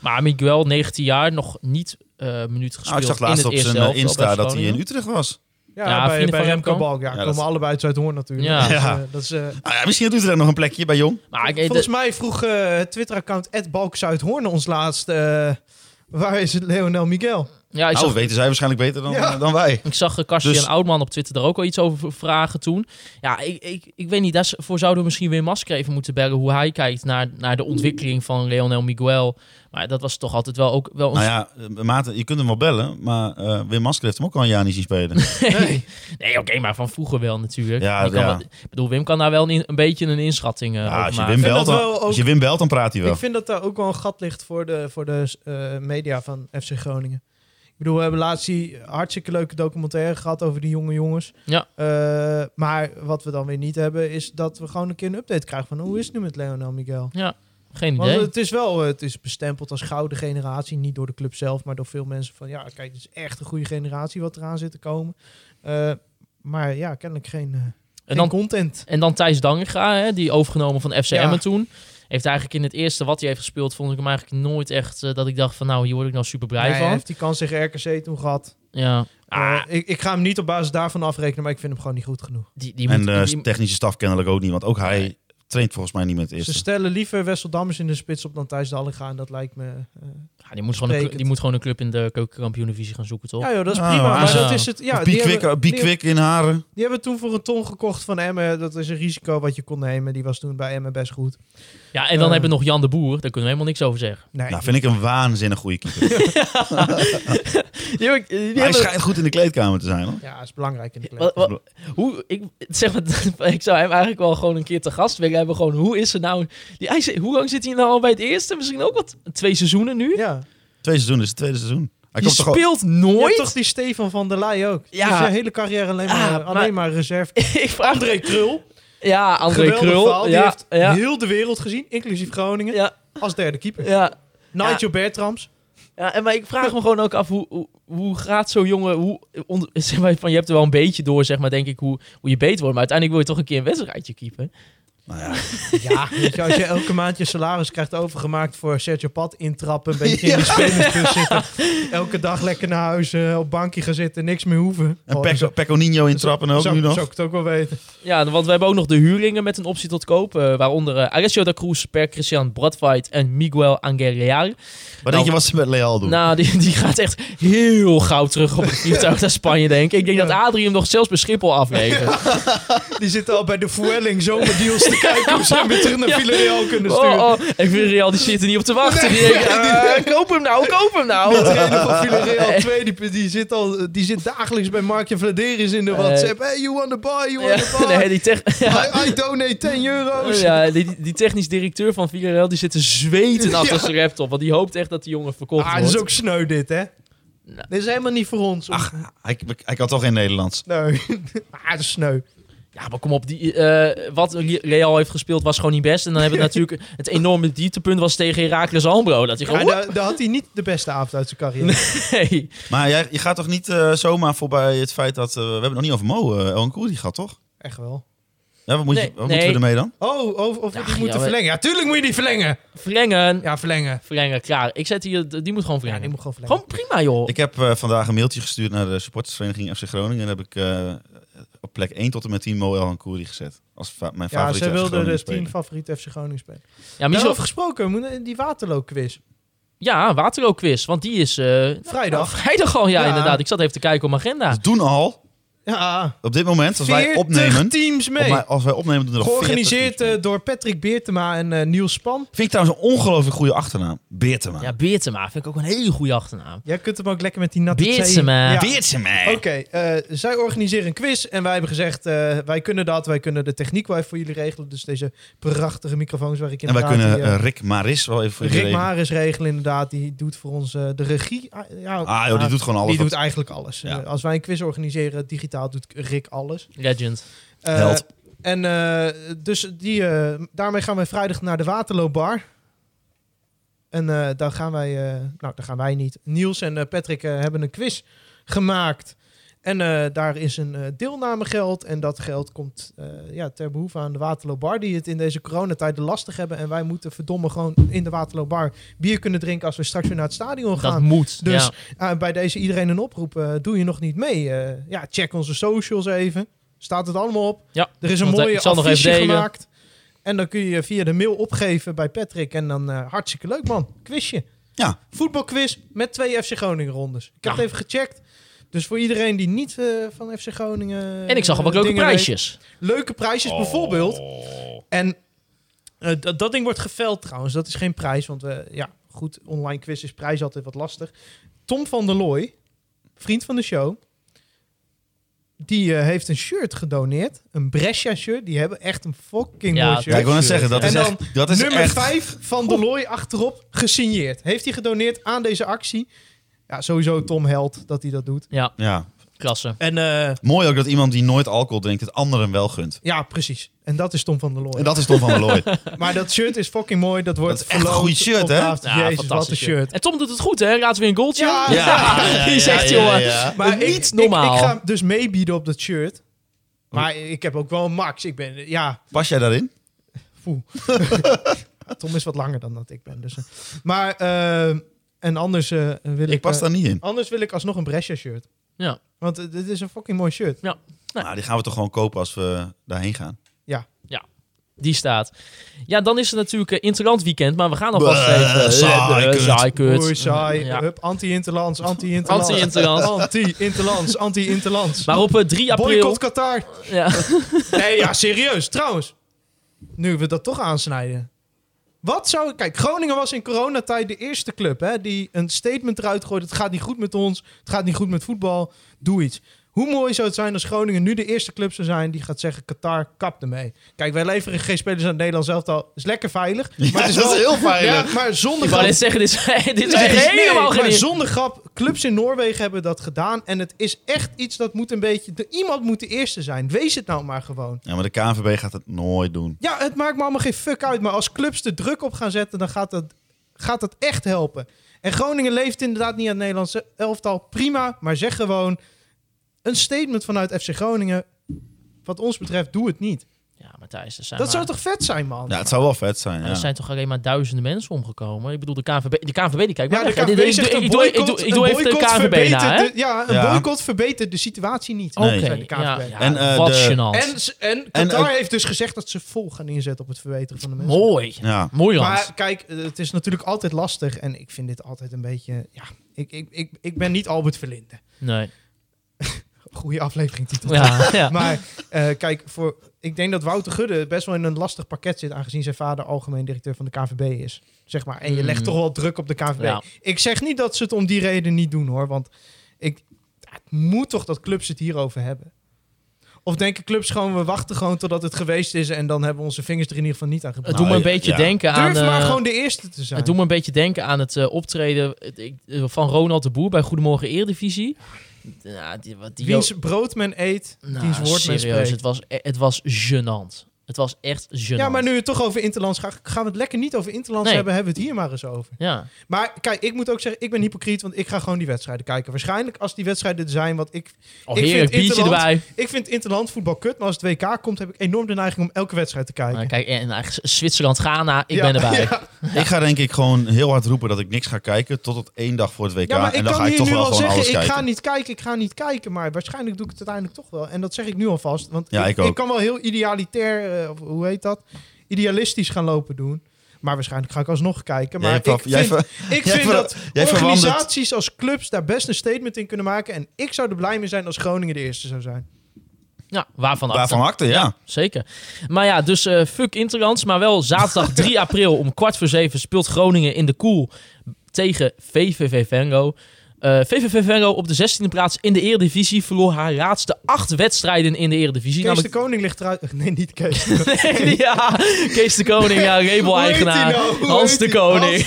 maar Miguel, 19 jaar, nog niet eh minuten
Nou,
gespeeld
ik zag
in
laatst
het
op
eerste
zijn
helft.
eh, Insta
bij
dat hij
Groningen.
in Utrecht was.
Ja,
Ja,
bij,
vrienden
bij
van
Remco
Remco.
Balk. Ja,
Ja,
komen
dat is-
allebei uit Zuidhoorn natuurlijk.
Ja.
Dat is,
Ja.
eh, dat is, eh,
Nou ja, misschien doet hij daar nog een plekje bij Jong.
Maar ik, eh,
Volgens
de-
mij vroeg eh, het Twitter-account Balk Zuidhoorn ons laatst... eh, waar is het Leonel Miguel?
ja, ik
Nou,
zag,
weten zij waarschijnlijk beter dan,
Ja.
eh, dan wij.
ik zag eh, Karsten
Dus-
en Oudman op Twitter daar ook al iets over v- vragen toen. Ja, ik, ik, ik weet niet, daarvoor zouden we misschien weer Masker even moeten bellen hoe hij kijkt naar, naar de ontwikkeling van Leonel Miguel. Maar dat was toch altijd wel ook wel een
Nou ja, eh, Maarten, je kunt hem wel bellen, maar eh Wim Masker heeft hem ook al een jaar niet zien spelen.
Nee.
Nee, oké, maar van vroeger wel natuurlijk.
Ja,
Je kan
ja.
wel- ik bedoel, Wim kan daar wel een, in- een beetje een inschatting eh
Ja,
over
als, je
maken.
Wim
vind
belt,
dat
dan,
wel
als je Wim belt, dan praat hij wel.
Ik vind dat daar ook wel een gat ligt voor de, voor de eh, media van FC Groningen. Ik bedoel, we hebben laatst die hartstikke leuke documentaire gehad over die jonge jongens.
Ja.
Eh, maar wat we dan weer niet hebben, is dat we gewoon een keer een update krijgen van... hoe is het nu met Leonel Miguel?
Geen
Want
idee.
het is wel eh, het is bestempeld als gouden generatie. Niet door de club zelf, maar door veel mensen van... ja, kijk, het is echt een goede generatie wat eraan zit te komen. Eh, maar ja, kennelijk geen, eh,
en,
geen
dan,
content.
en dan Thijs Danginga, hè, die overgenomen van FC
Ja.
Emmen toen. Heeft eigenlijk in het eerste wat hij heeft gespeeld, vond ik hem eigenlijk nooit echt eh, dat ik dacht van nou, hier word ik nou super blij
Nee, Hij
van.
heeft die kans tegen RKC toen gehad.
Ja, ah,
Eh, ik, ik ga hem niet op basis daarvan afrekenen, maar ik vind hem gewoon niet goed genoeg.
die, die
en eh,
moet...
de
die-
technische staf kennelijk ook niet, want ook hij
Nee.
traint volgens mij niet met het eerste.
Ze stellen liever Wessel Dammers in de spits op dan Thijs Dallinga. En dat lijkt me... eh,
ja, die, moet gewoon een, clu- die
Sprekend.
moet gewoon een club in de keukenkampioen-divisie gaan zoeken, toch?
ja joh, dat is
Nou,
prima. Maar
ah,
dat
ja.
is het... Ja,
Of oh, Be
die
Quick,
hebben-
Be
die-
Quick in Haren.
Die hebben toen voor een ton gekocht van Emmen. Dat is een risico wat je kon nemen. Die was toen bij Emmen best goed.
Ja, en dan
Eh.
hebben we nog Jan de Boer. Daar kunnen we helemaal niks over zeggen.
Nee,
Nou, vind ik een waanzinnig goede keeper.
Die heb ik- die
Maar hij
hebben-
schijnt goed in de kleedkamer te zijn, hoor.
ja, is belangrijk in de plek.
Wa- wa- hoe, ik, zeg maar, ik zou hem eigenlijk wel gewoon een keer te gast willen hebben. Gewoon, hoe is er nou... Die, hij, zit- hoe lang zit hij nou al bij het eerste? Misschien ook wat twee seizoenen nu?
Ja.
Twee seizoenen is het tweede seizoen. Hij
Die
komt toch al-
speelt
Je hebt
nooit.
toch die Stefan van der Leij ook.
Ja.
Ja. Die is zijn hele carrière alleen maar,
Ah,
alleen maar reserve.
ik vraag André Krul. Ja, André
Geweldig
Krul.
verhaal. Die
ja,
heeft
ja,
heel de wereld gezien, inclusief Groningen,
ja,
als derde keeper.
ja,
Nigel Bertrams.
ja. En maar ik vraag me gewoon ook af hoe, hoe, hoe gaat zo'n jongen. Hoe, on- zeg maar, van, je hebt er wel een beetje door, zeg maar, denk ik, hoe, hoe je beter wordt. Maar uiteindelijk wil je toch een keer een wedstrijdje keepen.
Nou ja,
Ja, weet je, als je elke maand je salaris krijgt overgemaakt voor Sergio Pat intrappen, een beetje in die spelersbus zitten, elke dag lekker naar huis, eh, op bankje gaan zitten, niks meer hoeven.
en
Oh,
Pecco-
zo-
Pecconino intrappen ook
zo-
nu nog.
Zou ik het ook wel weten.
Ja, want we hebben ook nog de huurlingen met een optie tot koop. eh, waaronder eh, Alessio da Cruz, Per Christian Bradfight en Miguel Angel Real.
Wat denk je wat ze met Leal doen?
Nou, die, die gaat echt heel gauw terug op het vliegtuig naar Spanje, denk ik. Ik denk dat Adrie hem nog zelfs bij Schiphol aflevert.
Die zitten al bij de Vueling zomerdeals te kijken hoe ze hem weer terug naar Villarreal kunnen
Oh,
sturen.
oh, ik vind Real, die zit er niet op te wachten. Die denkt, eh, koop hem nou, koop hem nou.
trainer van Villarreal 2, die, die, zit al, die zit dagelijks bij Markje Vladeris in de
Eh.
WhatsApp. Hey, you want to buy, you want to
Ja,
buy.
nee, die, tech- ja,
I, I donate 10 euro's.
ja, die, die technisch directeur van Villarreal, die zit te zweten achter zijn laptop. Want die hoopt echt dat die jongen verkocht
Ah,
wordt.
dat is ook sneu dit, hè?
Nou.
Dit is helemaal niet voor ons. Ach,
Hij, hij kan toch geen Nederlands?
nee. ah, dat is sneu.
Ja, maar kom op. Die, eh, wat Real heeft gespeeld was gewoon niet best. En dan hebben we natuurlijk het enorme dieptepunt was tegen Heracles Almelo. Dat hij
Ja,
gewoon...
daar, daar had hij niet de beste avond uit zijn carrière.
Nee.
Maar jij, je gaat toch niet eh, zomaar voorbij het feit dat... eh, we hebben het nog niet over Mo. eh El die gaat toch?
Echt wel.
Ja, wat moet je,
Nee,
wat
nee.
moeten we ermee dan?
Oh, of, of we
Ach,
die
ja,
moeten
we-
verlengen. Ja, tuurlijk moet je die verlengen.
Verlengen.
Ja, verlengen.
Verlengen, klaar. Ik zet hier... Die moet gewoon
Ja,
verlengen.
die moet gewoon verlengen.
Gewoon prima, joh.
Ik heb eh, vandaag een mailtje gestuurd naar de supportersvereniging FC Groningen. En daar heb ik eh, op plek 1 tot en met 10 Moel en Koeri gezet. Als fa- mijn
Ja,
favoriete
ze wilden
Groningen
de
speler.
10 favoriete FC Groningen spelen.
Ja, maar die is
Daarover
wel-
gesproken, we moeten- die Waterloo-quiz.
ja Waterloo-quiz, want die is... eh,
Vrijdag.
Vrijdag al, ja,
Ja.
inderdaad. Ik zat even te kijken op mijn agenda.
Ze doen al,
Ja,
op dit moment, als wij
40
opnemen...
teams
op
mee.
mijn- als wij opnemen doen er al 40
Georganiseerd
teams mee.
eh, door Patrick Beertema en eh, Niels Span.
Vind ik trouwens een ongelooflijk goede achternaam. Beertema.
Ja, Beertema vind ik ook een hele goede achternaam.
Jij kunt hem ook lekker met die natte thee-
Beertema.
Ja.
Beertema.
Oké, eh, zij organiseren een quiz en wij hebben gezegd, eh, wij kunnen dat, wij kunnen de techniek wel even voor jullie regelen. Dus deze prachtige microfoons waar ik
En wij
inderdaad...
kunnen
die, eh,
eh, Rick Maris wel even voor jullie
Rick
regelen.
Maris regelen inderdaad, die doet voor ons eh, de regie. Ah, ja,
Ah joh, die doet gewoon alles.
die doet
wat-
eigenlijk alles.
Ja.
Eh, als wij een quiz organiseren, digitaal doet Rick alles.
Legend.
Eh,
Held.
En eh, dus die, eh, daarmee gaan wij vrijdag naar de Waterloobar. En eh, daar gaan wij, eh, nou daar gaan wij niet. Niels en eh, Patrick eh, hebben een quiz gemaakt. En eh, daar is een eh, deelnamegeld. En dat geld komt eh, ja, ter behoeve aan de Waterloobar. Die het in deze coronatijden lastig hebben. En wij moeten verdomme gewoon in de Waterloobar bier kunnen drinken als we straks weer naar het stadion gaan.
Dat moet.
Dus
ja.
eh, bij deze iedereen een oproep. eh, doe je nog niet mee? eh, ja, check onze socials even. Staat het allemaal op.
Ja,
er is een
want, eh,
mooie
ik zal nog
affiche
even delen.
gemaakt. En dan kun je via de mail opgeven bij Patrick. En dan eh, hartstikke leuk man. Quizje.
Ja.
Voetbalquiz met twee FC Groningen rondes. Ik heb
Ja.
het even gecheckt. Dus voor iedereen die niet eh, van FC Groningen...
En ik zag al wat
eh,
leuke
dingen weet.
prijsjes.
Leuke prijsjes bijvoorbeeld.
Oh.
En eh, dat, dat ding wordt geveld trouwens. Dat is geen prijs, want we, ja, goed, online quiz is prijs altijd wat lastig. Tom van der Looy, vriend van de show, die eh, heeft een shirt gedoneerd. Een Brescia shirt. Die hebben echt een fucking
Ja,
mooi
Ja, ik
shirt.
wil net zeggen, dat
eh. En
is
dan
echt... Dat is
Nummer
echt...
5 van der Looy achterop gesigneerd. Heeft hij gedoneerd aan deze actie. Ja, sowieso Tom Held dat hij dat doet.
Ja,
Ja.
klasse.
En eh,
Mooi ook dat iemand die nooit alcohol drinkt, het anderen wel gunt.
ja, precies. En dat is Tom van der Looy.
En dat is Tom van der Looy.
Maar dat shirt is fucking mooi. Dat wordt
Dat is echt een
verloot
goed shirt,
op de
hè?
avond.
Ja,
Jezus, wat een
fantastisch.
shirt.
En Tom doet het goed, hè? Laat weer een goaltje.
Ja,
die zegt, jongen.
Maar
Niet
ik,
normaal.
Ik, ik ga dus meebieden op dat shirt. Maar ik heb ook wel een max. Ik ben, ja,
Pas jij daarin?
foe. Tom is wat langer dan dat ik ben. Dus, eh. maar, eh, en anders eh, wil ik...
Ik pas
eh,
daar niet in.
anders wil ik alsnog een Brescia shirt.
Ja.
Want eh, dit is een fucking mooi shirt.
Nee.
Nou, die gaan we toch gewoon kopen als we daarheen gaan.
Die staat. Ja, dan is het natuurlijk eh, Interland weekend, maar we gaan alvast
Bleh,
even... eh,
saai,
eh,
kut.
saai, kut.
Oei, saai.
Ja.
Hup, Oh. anti-interlands, anti-interlands.
Anti-interlands.
Anti-interlands, anti-interlands.
Maar op eh, 3 april...
Boycott Qatar.
Ja.
Nee, ja, serieus. Trouwens, nu we dat toch aansnijden. Wat zou... Kijk, Groningen was in coronatijd de eerste club hè, die een statement eruit gooit. Het gaat niet goed met ons. Het gaat niet goed met voetbal. Doe iets. Hoe mooi zou het zijn als Groningen nu de eerste club zou zijn die gaat zeggen: Qatar, kap ermee. Kijk, wij leveren geen spelers aan Nederland zelf al. Is lekker veilig. Maar het is wel,
heel
ja, maar zonder
Ik wou
grap-
net zeggen, dit is, dit is
Nee, nee,
helemaal
maar
geen...
zonder grap, clubs in Noorwegen hebben dat gedaan. En het is echt iets dat moet een beetje... de- iemand moet de eerste zijn. Wees het nou maar gewoon.
Ja, maar de KNVB gaat het nooit doen.
Ja, het maakt me allemaal geen fuck uit. Maar als clubs de druk op gaan zetten, dan gaat dat, gaat dat echt helpen. En Groningen leeft inderdaad niet aan het Nederlandse elftal. Prima, maar zeg gewoon... Een statement vanuit FC Groningen... Wat ons betreft, doe het niet.
Ja, Matthijs, er zijn
Dat
maar-
zou toch vet zijn, man?
Ja, het zou wel vet zijn.
Er
Ja.
zijn toch alleen maar duizenden mensen omgekomen? Ik bedoel, de KNVB, de KNVB die kijkt
Ja,
maar
de
weg, hè. Dit-
KNVB
dit-
zegt
ik-
een
ik doe- ik doe-
boycott-
Ik doe
een
even de
boycott
KNVB
verbetert
na, hè?
de- Ja, een
Ja.
boycott verbetert de situatie niet.
Nee.
Oké,
Zei Oh, de KNVB.
ja, ja,
En, eh,
wat
de-
gênant.
En, s- en
En
Qatar
ook-
heeft dus gezegd dat ze vol gaan inzetten op het verbeteren van de mensen.
Mooi.
Ja.
Mooi land.
Maar kijk, eh, het is natuurlijk altijd lastig. En ik vind dit altijd een beetje... Ja, ik, ik, ik, ik ben niet Albert Verlinde.
Nee.
Goeie aflevering titel.
Ja, ja.
Maar eh, kijk, voor, ik denk dat Wouter Gudde best wel in een lastig pakket zit... aangezien zijn vader algemeen directeur van de KVB is. Zeg maar. En je legt
Mm.
toch wel druk op de KVB.
Ja.
Ik zeg niet dat ze het om die reden niet doen, hoor. Want ik, het moet toch dat clubs het hierover hebben. Of denken clubs gewoon, we wachten gewoon totdat het geweest is... en dan hebben we onze vingers er in ieder geval niet aan
het
gebrand.
doet me een
ja,
beetje
ja.
denken aan...
Durf maar
eh,
gewoon de eerste te zijn.
Het doet me een beetje denken aan het eh, optreden eh, ik- eh, van Ronald de Boer bij Goedemorgen Eredivisie. Ja, die, wat die
Wiens brood men eet,
Nou,
diens woord men
serieus, het
spreekt.
was, e- het was gênant. Het was echt gênant.
Ja, maar nu we het toch over interlands gaan, gaan we het lekker niet over interlands
Nee.
hebben, hebben we het hier maar eens over.
Ja,
Maar kijk, ik moet ook zeggen, ik ben hypocriet, want ik ga gewoon die wedstrijden kijken. Waarschijnlijk als die wedstrijden er zijn, want ik,
oh,
Ik
heerlijk,
vind
biertje
Interland-
erbij.
ik vind interland voetbal kut, maar als het WK komt heb ik enorm de neiging om elke wedstrijd te kijken.
Nou, kijk, en eigenlijk Zwitserland, Ghana, eh, ik ben
Ja,
erbij.
ja.
Ik ga denk ik gewoon heel hard roepen dat ik niks ga kijken tot het één dag voor het WK.
Ja, maar
en
ik
dan
kan
ga ik
hier
toch
nu
wel
al
gewoon
zeggen,
alles
ik
kijken.
ga niet kijken, ik ga niet kijken. Maar waarschijnlijk doe ik het uiteindelijk toch wel. En dat zeg ik nu alvast. Want
Ja, ik ook.
kan wel heel idealitair, eh, of hoe heet dat? Idealistisch gaan lopen doen. Maar waarschijnlijk ga ik alsnog
Jij
kijken. Maar
hebt
ik
wel- jij
vind, ik
jij
vind
ver-
dat
jij verwandelt-
organisaties als clubs daar best een statement in kunnen maken. En ik zou er blij mee zijn als Groningen de eerste zou zijn.
Ja, waarvan af.
Waarvan acte, ja.
Zeker. Maar ja, dus eh fuck Interlands. Maar wel zaterdag 3 april om kwart voor zeven speelt Groningen in de koel tegen VVV Venlo. Eh, VVV Venlo op de 16e plaats in de Eredivisie verloor haar laatste acht wedstrijden in de Eredivisie.
Kees de
namelijk-
Koning ligt eruit. Nee, niet Kees.
ja, Kees de Koning, ja,
Hoe
label-eigenaar.
heet hij nou? Hoe
Hans
heet
de
hij?
Koning.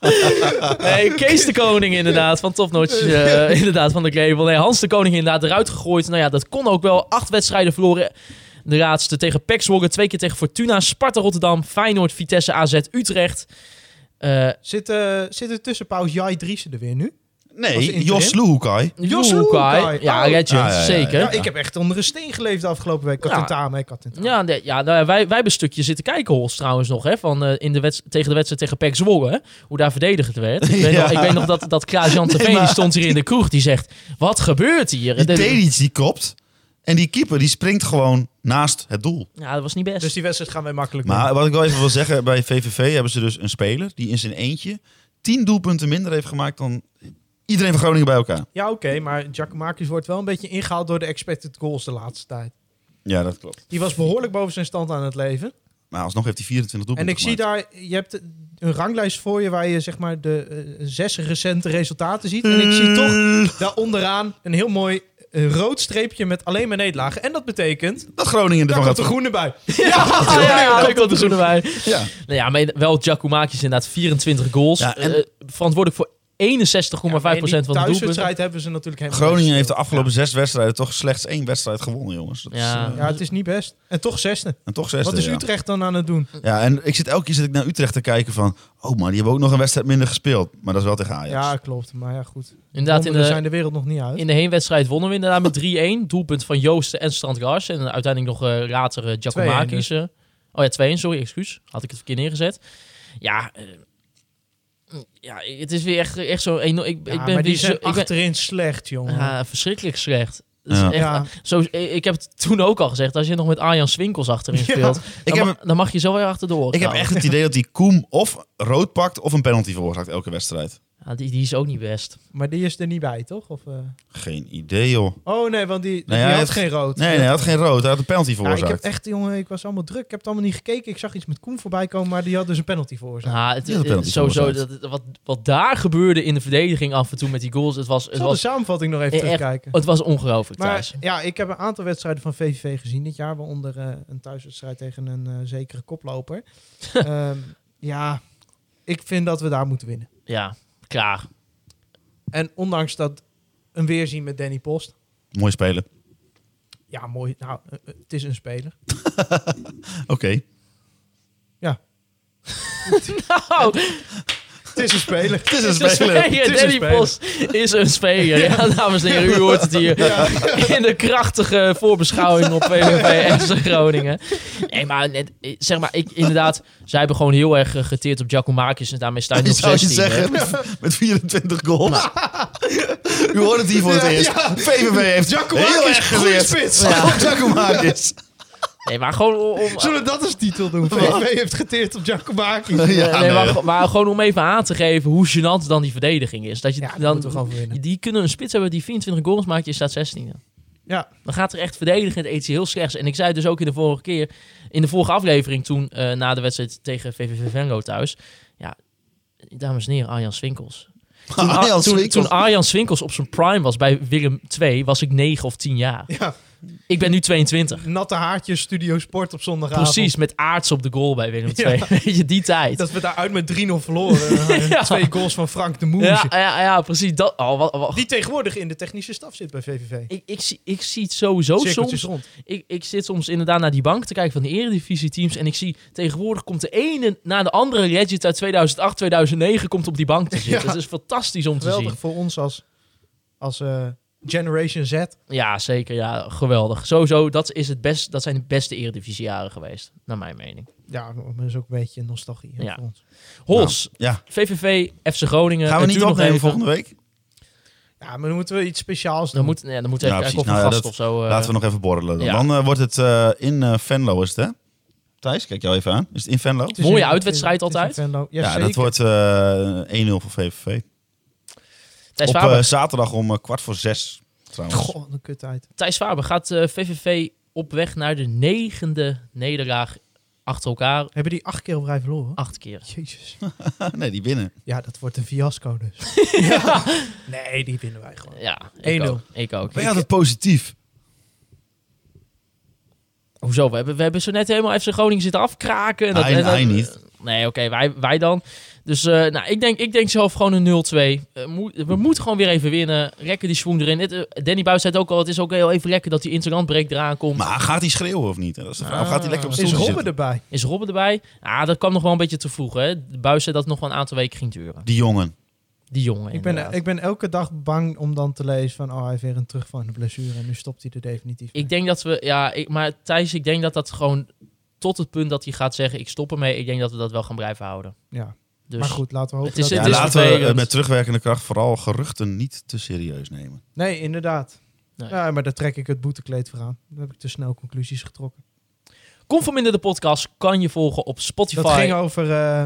nee, Kees de Koning inderdaad, van Topnotch. eh inderdaad, van de label. Nee, Hans de Koning inderdaad eruit gegooid. Nou ja, dat kon ook wel. Acht wedstrijden verloren. De laatste tegen PEC Zwolle, twee keer tegen Fortuna, Sparta Rotterdam, Feyenoord, Vitesse, AZ, Utrecht. Eh
Zit, eh zit er tussen pauze Jai Driessen er weer nu? Was
Nee,
interim?
Jos Luhukai.
Jos
Luukai.
Luukai.
Ja,
Oh.
Legend,
Ah, ja, ja,
zeker.
Ja, ik heb echt onder een steen geleefd de afgelopen week. Ik had
Ja.
tentamen, ik had tentamen.
Ja, nee, ja nou ja, wij, wij hebben een stukje zitten kijken, Hols, trouwens nog. Hè, van, eh, in de wedst- tegen de wedstrijd tegen PEC Zwolle. Hè, hoe daar verdedigd werd. Ik, weet
Ja.
nog, ik weet nog dat, dat Klaas-Jan Terveen, die stond hier in de kroeg. Die zegt, wat gebeurt hier?
Die
En de-
Tedic die kopt. En die keeper die springt gewoon naast het doel.
ja, dat was niet best.
Dus die wedstrijd gaan wij makkelijk doen.
Maar wat ik wel even wil zeggen, bij VVV hebben ze dus een speler die in zijn eentje tien doelpunten minder heeft gemaakt dan iedereen van Groningen bij elkaar.
Ja, oké, maar Giacomakis wordt wel een beetje ingehaald door de expected goals de laatste tijd.
Ja, dat klopt.
Die was behoorlijk boven zijn stand aan het leven.
Maar alsnog heeft hij 24
En
doelpunten
ik zie
gemaakt.
daar, je hebt een ranglijst voor je waar je zeg maar de eh, zes recente resultaten ziet. En ik zie toch daar onderaan een heel mooi eh, rood streepje met alleen maar nederlagen. En dat betekent,
dat Groningen
daar
ervan
komt
gaat.
de groene bij.
ja, ja, ja, daar komt de groene bij.
Ja.
Nou ja, maar wel Giacomakis inderdaad 24 goals.
Ja, en-
Eh, verantwoordelijk voor 61,5% van de doelpunten.
thuiswedstrijd hebben ze natuurlijk helemaal
Groningen
niet
heeft de afgelopen zes wedstrijden toch slechts één wedstrijd gewonnen, jongens. Dat
Ja.
is, eh,
Ja, het is niet best. En toch zesde.
en toch zesde.
Wat is
ja.
Utrecht dan aan het doen?
Ja, en ik zit elke keer zit ik naar Utrecht te kijken van... Oh man, die hebben ook nog een wedstrijd minder gespeeld. Maar dat is wel tegen Ajax.
Ja, klopt. Maar ja, goed.
Inderdaad, in
Wonderen
de,
zijn de wereld nog niet uit.
in de heenwedstrijd wonnen we inderdaad met 3-1. Doelpunt van Joosten en Strandgars. En uiteindelijk nog eh, later eh, Giacomakis. eh.
dus.
oh ja, 2-1, sorry, excuus. Had ik het verkeerd neergezet. Ja, eh, ja het is weer echt, echt zo enorm. Ik,
Ja,
ik ben
maar die
weer zo-
zijn
ik ben-
achterin slecht, jongen.
Ja, verschrikkelijk slecht. Dat
Ja.
Is echt, eh,
Ja.
zo, ik heb het toen ook al gezegd. Als je nog met Arjan Swinkels achterin speelt, dan,
heb
ma- dan mag je zo weer achterdoor.
Ik heb
gaan.
echt het idee dat die Koem of rood pakt... of een penalty veroorzaakt elke wedstrijd.
Ja, die, die is ook niet best.
Maar die is er niet bij, toch? Of, eh?
Geen idee, joh.
Oh nee, want die,
Nee,
die
hij
had
heeft-
geen rood.
Nee, nee, hij had geen rood. Hij had een penalty
Ja, ik
veroorzaakt.
heb echt, jongen, ik was allemaal druk. Ik heb het allemaal niet gekeken. Ik zag iets met Koen voorbij komen, maar die had dus een penalty veroorzaakt.
Ja, Nou, het,
Die had een
het,
penalty
sowieso,
veroorzaakt.
dat, wat, wat daar gebeurde in de verdediging af en toe met die goals, het was,
Ik
het
zal de
was,
samenvatting nog even
echt-
terugkijken.
het was ongelooflijk
Maar
Thijs.
ja, ik heb een aantal wedstrijden van VVV gezien dit jaar. Waaronder eh, een thuiswedstrijd tegen een eh, zekere koploper. Ehm, ja, ik vind dat we daar moeten winnen.
Ja, klaar.
En ondanks dat een weerzien met Danny Post.
Mooi spelen.
Ja, mooi. Nou, eh, eh, het is een speler.
Oké.
Nou,
Het is een speler.
Het Oh, is een
de
speler.
Het
speler
is een
Danny
speler.
Post is een speler. Ja, dames en heren, u hoort het hier. In de krachtige voorbeschouwing op PVV FC Groningen. Nee, maar, net, eh, zeg maar ik, inderdaad, zij hebben gewoon heel erg eh, geteerd op Giacomakis en daarmee staan ze
Je
op
zou je
16. hè.
zeggen, met, met 24 goals. U hoort het hier voor het eerst. VVV heeft heel erg geleerd.
Ja.
Op Giacomakis.
Nee, maar gewoon om- om,
Zullen we dat als titel doen? VVV heeft geteerd op Giacomakis.
Ja,
Eh, nee,
nee.
maar, go- maar gewoon om even aan te geven hoe gênant dan die verdediging is. Dat je
Ja, die
dan,
moeten we gewoon winnen.
Die kunnen een spits hebben die 24 goals maakt, je staat 16.
Ja.
Dan gaat er echt verdedigend iets heel slechts. En ik zei het dus ook in de vorige keer, in de vorige aflevering toen, eh, na de wedstrijd tegen VVV Venlo thuis. Ja, dames en heren, Arjan Swinkels. Toen,
Arjan
toen-
Swinkels.
toen Arjan Swinkels op zijn prime was bij Willem 2, was ik 9 of 10 jaar.
Ja,
Ik ben nu 22.
natte haartjes, studio sport op zondagavond.
Precies, met aards op de goal bij Willem 2. Weet je, die tijd.
Dat we daaruit met 3-0 verloren.
Ja.
Twee goals van Frank de Moes.
ja, ja, ja, precies. Dat, oh, wat, wat,
Die tegenwoordig in de technische staf zit bij VVV.
Ik, ik, zie, ik zie het sowieso
Cirkeltjes
Oh, soms.
rond.
Ik, ik zit soms inderdaad naar die bank te kijken van de eredivisieteams. En ik zie tegenwoordig komt de ene na de andere legend uit 2008, 2009 komt op die bank te zitten.
Ja.
Dat is fantastisch om te
Geweldig
zien.
voor ons als, als eh, Generation Z.
Ja, zeker. Ja, geweldig. Sowieso, dat, is het best, dat zijn de beste eredivisiejaren geweest, naar mijn mening.
Ja, maar dat is ook een beetje nostalgie hè,
Ja.
voor ons.
Hols,
Nou, Ja.
VVV, FC Groningen.
Gaan we
het
niet
duurt nog
opnemen
even.
volgende week?
Ja, maar dan moeten we iets speciaals doen.
Dan moet, ja, dan moet
Ja,
even
precies.
kijken of een
Nou ja,
gast
dat-
of zo... eh,
Laten we nog even borrelen. Dan,
ja.
dan eh, wordt het eh, in eh, Venlo, is het hè? Thijs, kijk jou even aan. Is het in Venlo?
Het is
mooie
in-
uitwedstrijd
het is in
altijd.
Venlo. Ja,
Ja,
zeker.
dat wordt eh 1-0 voor VVV.
Thijs,
Op
Faber,
eh, zaterdag om eh, kwart voor zes, trouwens.
Goh, wat een kut uit.
Thijs Faber, gaat eh, VVV op weg naar de negende nederlaag achter elkaar?
Hebben die acht keer op rij verloren?
Acht keer.
Jezus.
nee, die winnen.
Ja, dat wordt een fiasco dus. Nee, die winnen wij gewoon.
Ja, ik
1-0.
ook. Ik ook.
Ben je altijd positief?
Hoezo? We hebben, we hebben zo net helemaal FC Groningen zitten afkraken. En
Hij-
en
hij niet.
Nee, oké, wij, wij dan. Dus eh, nou, ik, denk, ik denk zelf gewoon een 0-2. Eh, moet- we moeten gewoon weer even winnen. Rekken die swoon erin. Het, eh, Danny Buis zei het ook al, het is ook heel even lekker dat die interlandbreak eraan komt.
Maar gaat hij schreeuwen of niet? Dat is de vraag. Of gaat hij lekker op
Ah. Is
stoel
Robben
zitten?
erbij?
Is Robben erbij? Ah, dat kwam nog wel een beetje te vroeg. Hè? De Buis zei dat het nog wel een aantal weken ging duren.
Die jongen.
Die jongen
Ik ben,
inderdaad.
ik ben elke dag bang om dan te lezen van... oh, hij heeft weer een terugval in de blessure... en nu stopt hij er definitief mee.
Ik denk dat we, ja, ik, maar Thijs, ik denk dat dat gewoon tot het punt dat hij gaat zeggen: ik stop ermee. Ik denk dat we dat wel gaan blijven houden.
Ja.
Dus,
maar goed, laten we hopen
Het is-
dat...
Ja,
het
laten we
vervelend.
eh, met terugwerkende kracht vooral geruchten niet te serieus nemen.
Nee, inderdaad.
Nee.
Ja, maar daar trek ik het boetekleed voor aan. Dan heb ik te snel conclusies getrokken.
Kom voor minder de podcast. Kan je volgen op Spotify.
Dat ging over eh,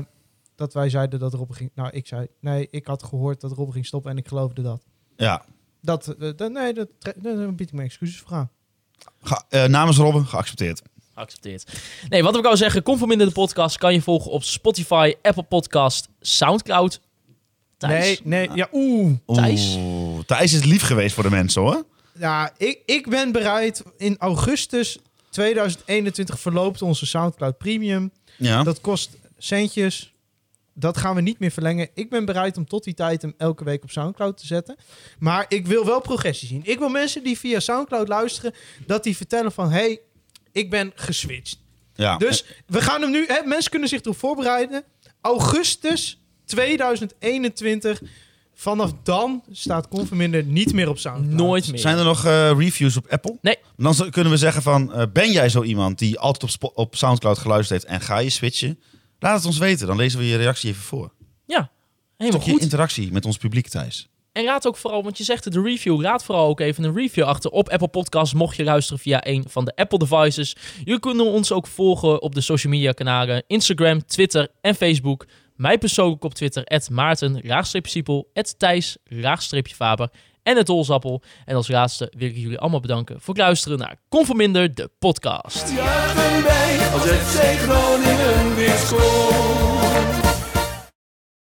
dat wij zeiden dat Robben ging... Nou, ik zei... Nee, ik had gehoord dat Robben ging stoppen en ik geloofde dat.
Ja.
Dat, eh, dat- nee, dat, tre- daar bied ik mijn excuses voor aan.
Ga- eh, namens Robben, geaccepteerd.
Geaccepteerd. Nee, wat ik al zeggen, kom voor minder de podcast. Kan je volgen op Spotify, Apple Podcast, Soundcloud. Thijs.
Nee, nee, ja, oeh.
Thijs?
Oeh, Thijs is lief geweest voor de mensen hoor.
Ja, ik, ik ben bereid. In augustus 2021 verloopt onze Soundcloud Premium.
Ja.
Dat kost centjes. Dat gaan we niet meer verlengen. Ik ben bereid om tot die tijd hem elke week op Soundcloud te zetten. Maar ik wil wel progressie zien. Ik wil mensen die via Soundcloud luisteren, dat die vertellen van... hey, ik ben geswitcht.
ja.
Dus we gaan hem nu... Hè, mensen kunnen zich erop voorbereiden. Augustus 2021. Vanaf dan staat Conforminder niet meer op Soundcloud.
Nooit meer.
Zijn er nog eh, reviews op Apple?
Nee.
Dan z- kunnen we zeggen van, eh, ben jij zo iemand die altijd op, Spo- op Soundcloud geluisterd heeft en ga je switchen? Laat het ons weten, dan lezen we je reactie even voor.
Ja, helemaal
Stukje
goed.
interactie met ons publiek, Thijs.
En raad ook vooral, want je zegt het, de review, raad vooral ook even een review achter op Apple Podcasts, mocht je luisteren via een van de Apple devices. Je kunt ons ook volgen op de social media kanalen Instagram, Twitter en Facebook. Mij persoonlijk op Twitter, Maarten, Siepel, Thijs, Faber en het Olsappel. En als laatste wil ik jullie allemaal bedanken voor het luisteren naar Conforminder, de podcast.
Juichen wij als FC Groningen weer scoort.